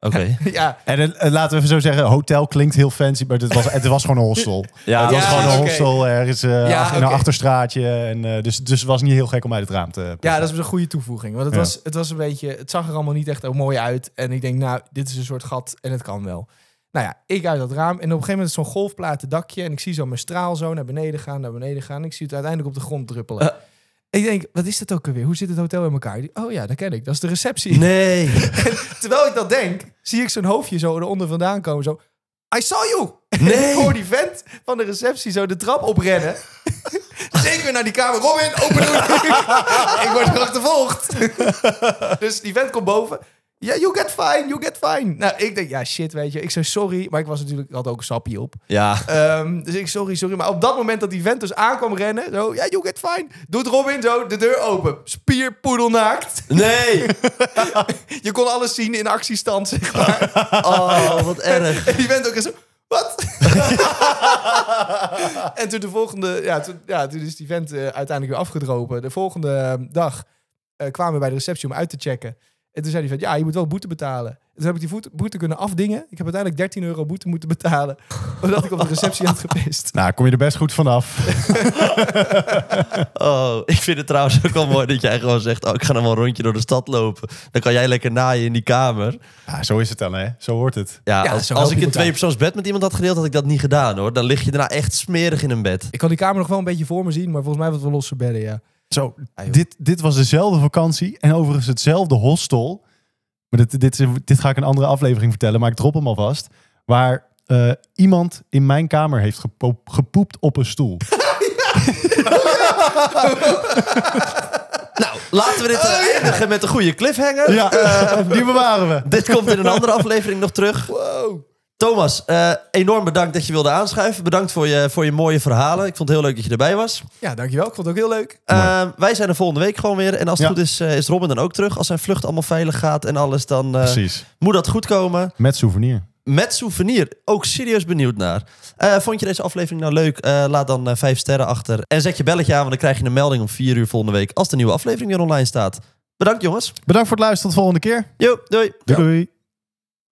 S3: Oké.
S1: ja,
S2: En het- eh, laten we even zo zeggen, hotel klinkt heel fancy, maar het was, het was gewoon een hostel.
S3: Ja,
S2: het was
S1: ja,
S2: gewoon een
S1: oké.
S2: hostel ergens eh,
S1: Ja,
S2: ach- in een
S1: oké.
S2: achterstraatje. En, eh, dus, dus het was niet heel gek om uit het raam te pissen.
S1: ja, dat is een goede toevoeging. Want het,
S2: eh, Ja.
S1: was, het was een beetje, het zag er allemaal niet echt ook mooi uit. En ik denk, nou, dit is een soort gat en het kan wel. Nou ja, ik uit dat raam en op een gegeven moment is zo'n golfplaten dakje. En ik zie zo mijn straal zo naar beneden gaan, naar beneden gaan. Ik zie het uiteindelijk op de grond druppelen. Ik denk, wat is dat ook alweer? Hoe zit het hotel in elkaar? Die- Oh ja, dat ken ik. Dat is de receptie.
S3: Nee.
S1: Terwijl ik dat denk, zie ik zo'n hoofdje zo eronder vandaan komen. Zo, I saw you! En ik hoor die vent van de receptie zo de trap oprennen. Zeker weer naar die kamer. Robin, open doen! ik word er achtervolgd. dus die vent komt boven. Ja, you get fine, you get fine. Nou, ik denk, ja, shit, weet je. Ik zei sorry, maar ik was natuurlijk, ik had ook een sapje op.
S3: Ja.
S1: Ehm, dus ik, sorry, sorry. Maar op dat moment dat die vent dus aankwam rennen, zo, ja, you get fine. Doet Robin zo, de deur open. Spierpoedelnaakt.
S3: Nee.
S1: Je kon alles zien in actiestand, zeg maar.
S3: Oh, wat erg.
S1: En die bent ook eens zo... Wat? en toen de volgende... Ja, toen, ja, toen is die vent eh, uiteindelijk weer afgedropen. De volgende eh, dag eh, kwamen we bij de receptie om uit te checken. En toen zei die vent, ja, je moet wel boete betalen. En toen heb ik die voet- boete kunnen afdingen. Ik heb uiteindelijk 13 euro boete moeten betalen. Omdat ik op de receptie had gepist.
S2: Nou, kom je er best goed vanaf.
S3: Oh, ik vind het trouwens ook wel mooi dat jij gewoon zegt... Oh, ik ga nog wel een rondje door de stad lopen. Dan kan jij lekker naaien in die kamer.
S2: Ja, zo is het dan, hè? Zo hoort het.
S3: Ja,
S1: Ja,
S3: als,
S1: zo help
S3: als ik
S1: je
S3: een
S1: elkaar.
S3: tweepersoonsbed met iemand had gedeeld... had ik dat niet gedaan, hoor. Dan lig je daarna echt smerig in een bed.
S1: Ik kan die kamer nog wel een beetje voor me zien. Maar volgens mij wat we losse bedden, ja.
S2: Zo,
S1: Ja, joh.
S2: dit, dit was dezelfde vakantie en overigens hetzelfde hostel. Maar dit, dit, is- dit ga ik in een andere aflevering vertellen, maar ik drop hem alvast. Waar eh, iemand in mijn kamer heeft gepo- gepoept op een stoel.
S3: Nou, laten we
S1: Oh,
S3: dit eh, eindigen met een goede cliffhanger.
S2: ja, die bewaren
S1: Eh.
S2: we.
S3: Dit komt in een andere aflevering nog terug.
S1: Wow.
S3: Thomas, eh, enorm bedankt dat je wilde aanschuiven. Bedankt voor je, voor je mooie verhalen. Ik vond het heel leuk dat je erbij was.
S1: Ja, dankjewel. Ik vond het ook heel leuk.
S3: Eh, wij zijn er volgende week gewoon weer. En als het
S2: Ja.
S3: goed is, eh, is Robin dan ook terug. Als zijn vlucht allemaal veilig gaat en alles, dan eh,
S2: Precies,
S3: moet dat goed komen.
S2: met souvenir.
S3: Met souvenir. Ook serieus benieuwd naar. Eh, vond je deze aflevering nou leuk? Eh, laat dan eh, vijf sterren achter. En zet je belletje aan, want dan krijg je een melding om vier uur volgende week. Als de nieuwe aflevering weer online staat. Bedankt jongens.
S2: Bedankt voor het luisteren, tot de volgende keer.
S3: Yo, doei.
S2: Doei. doei.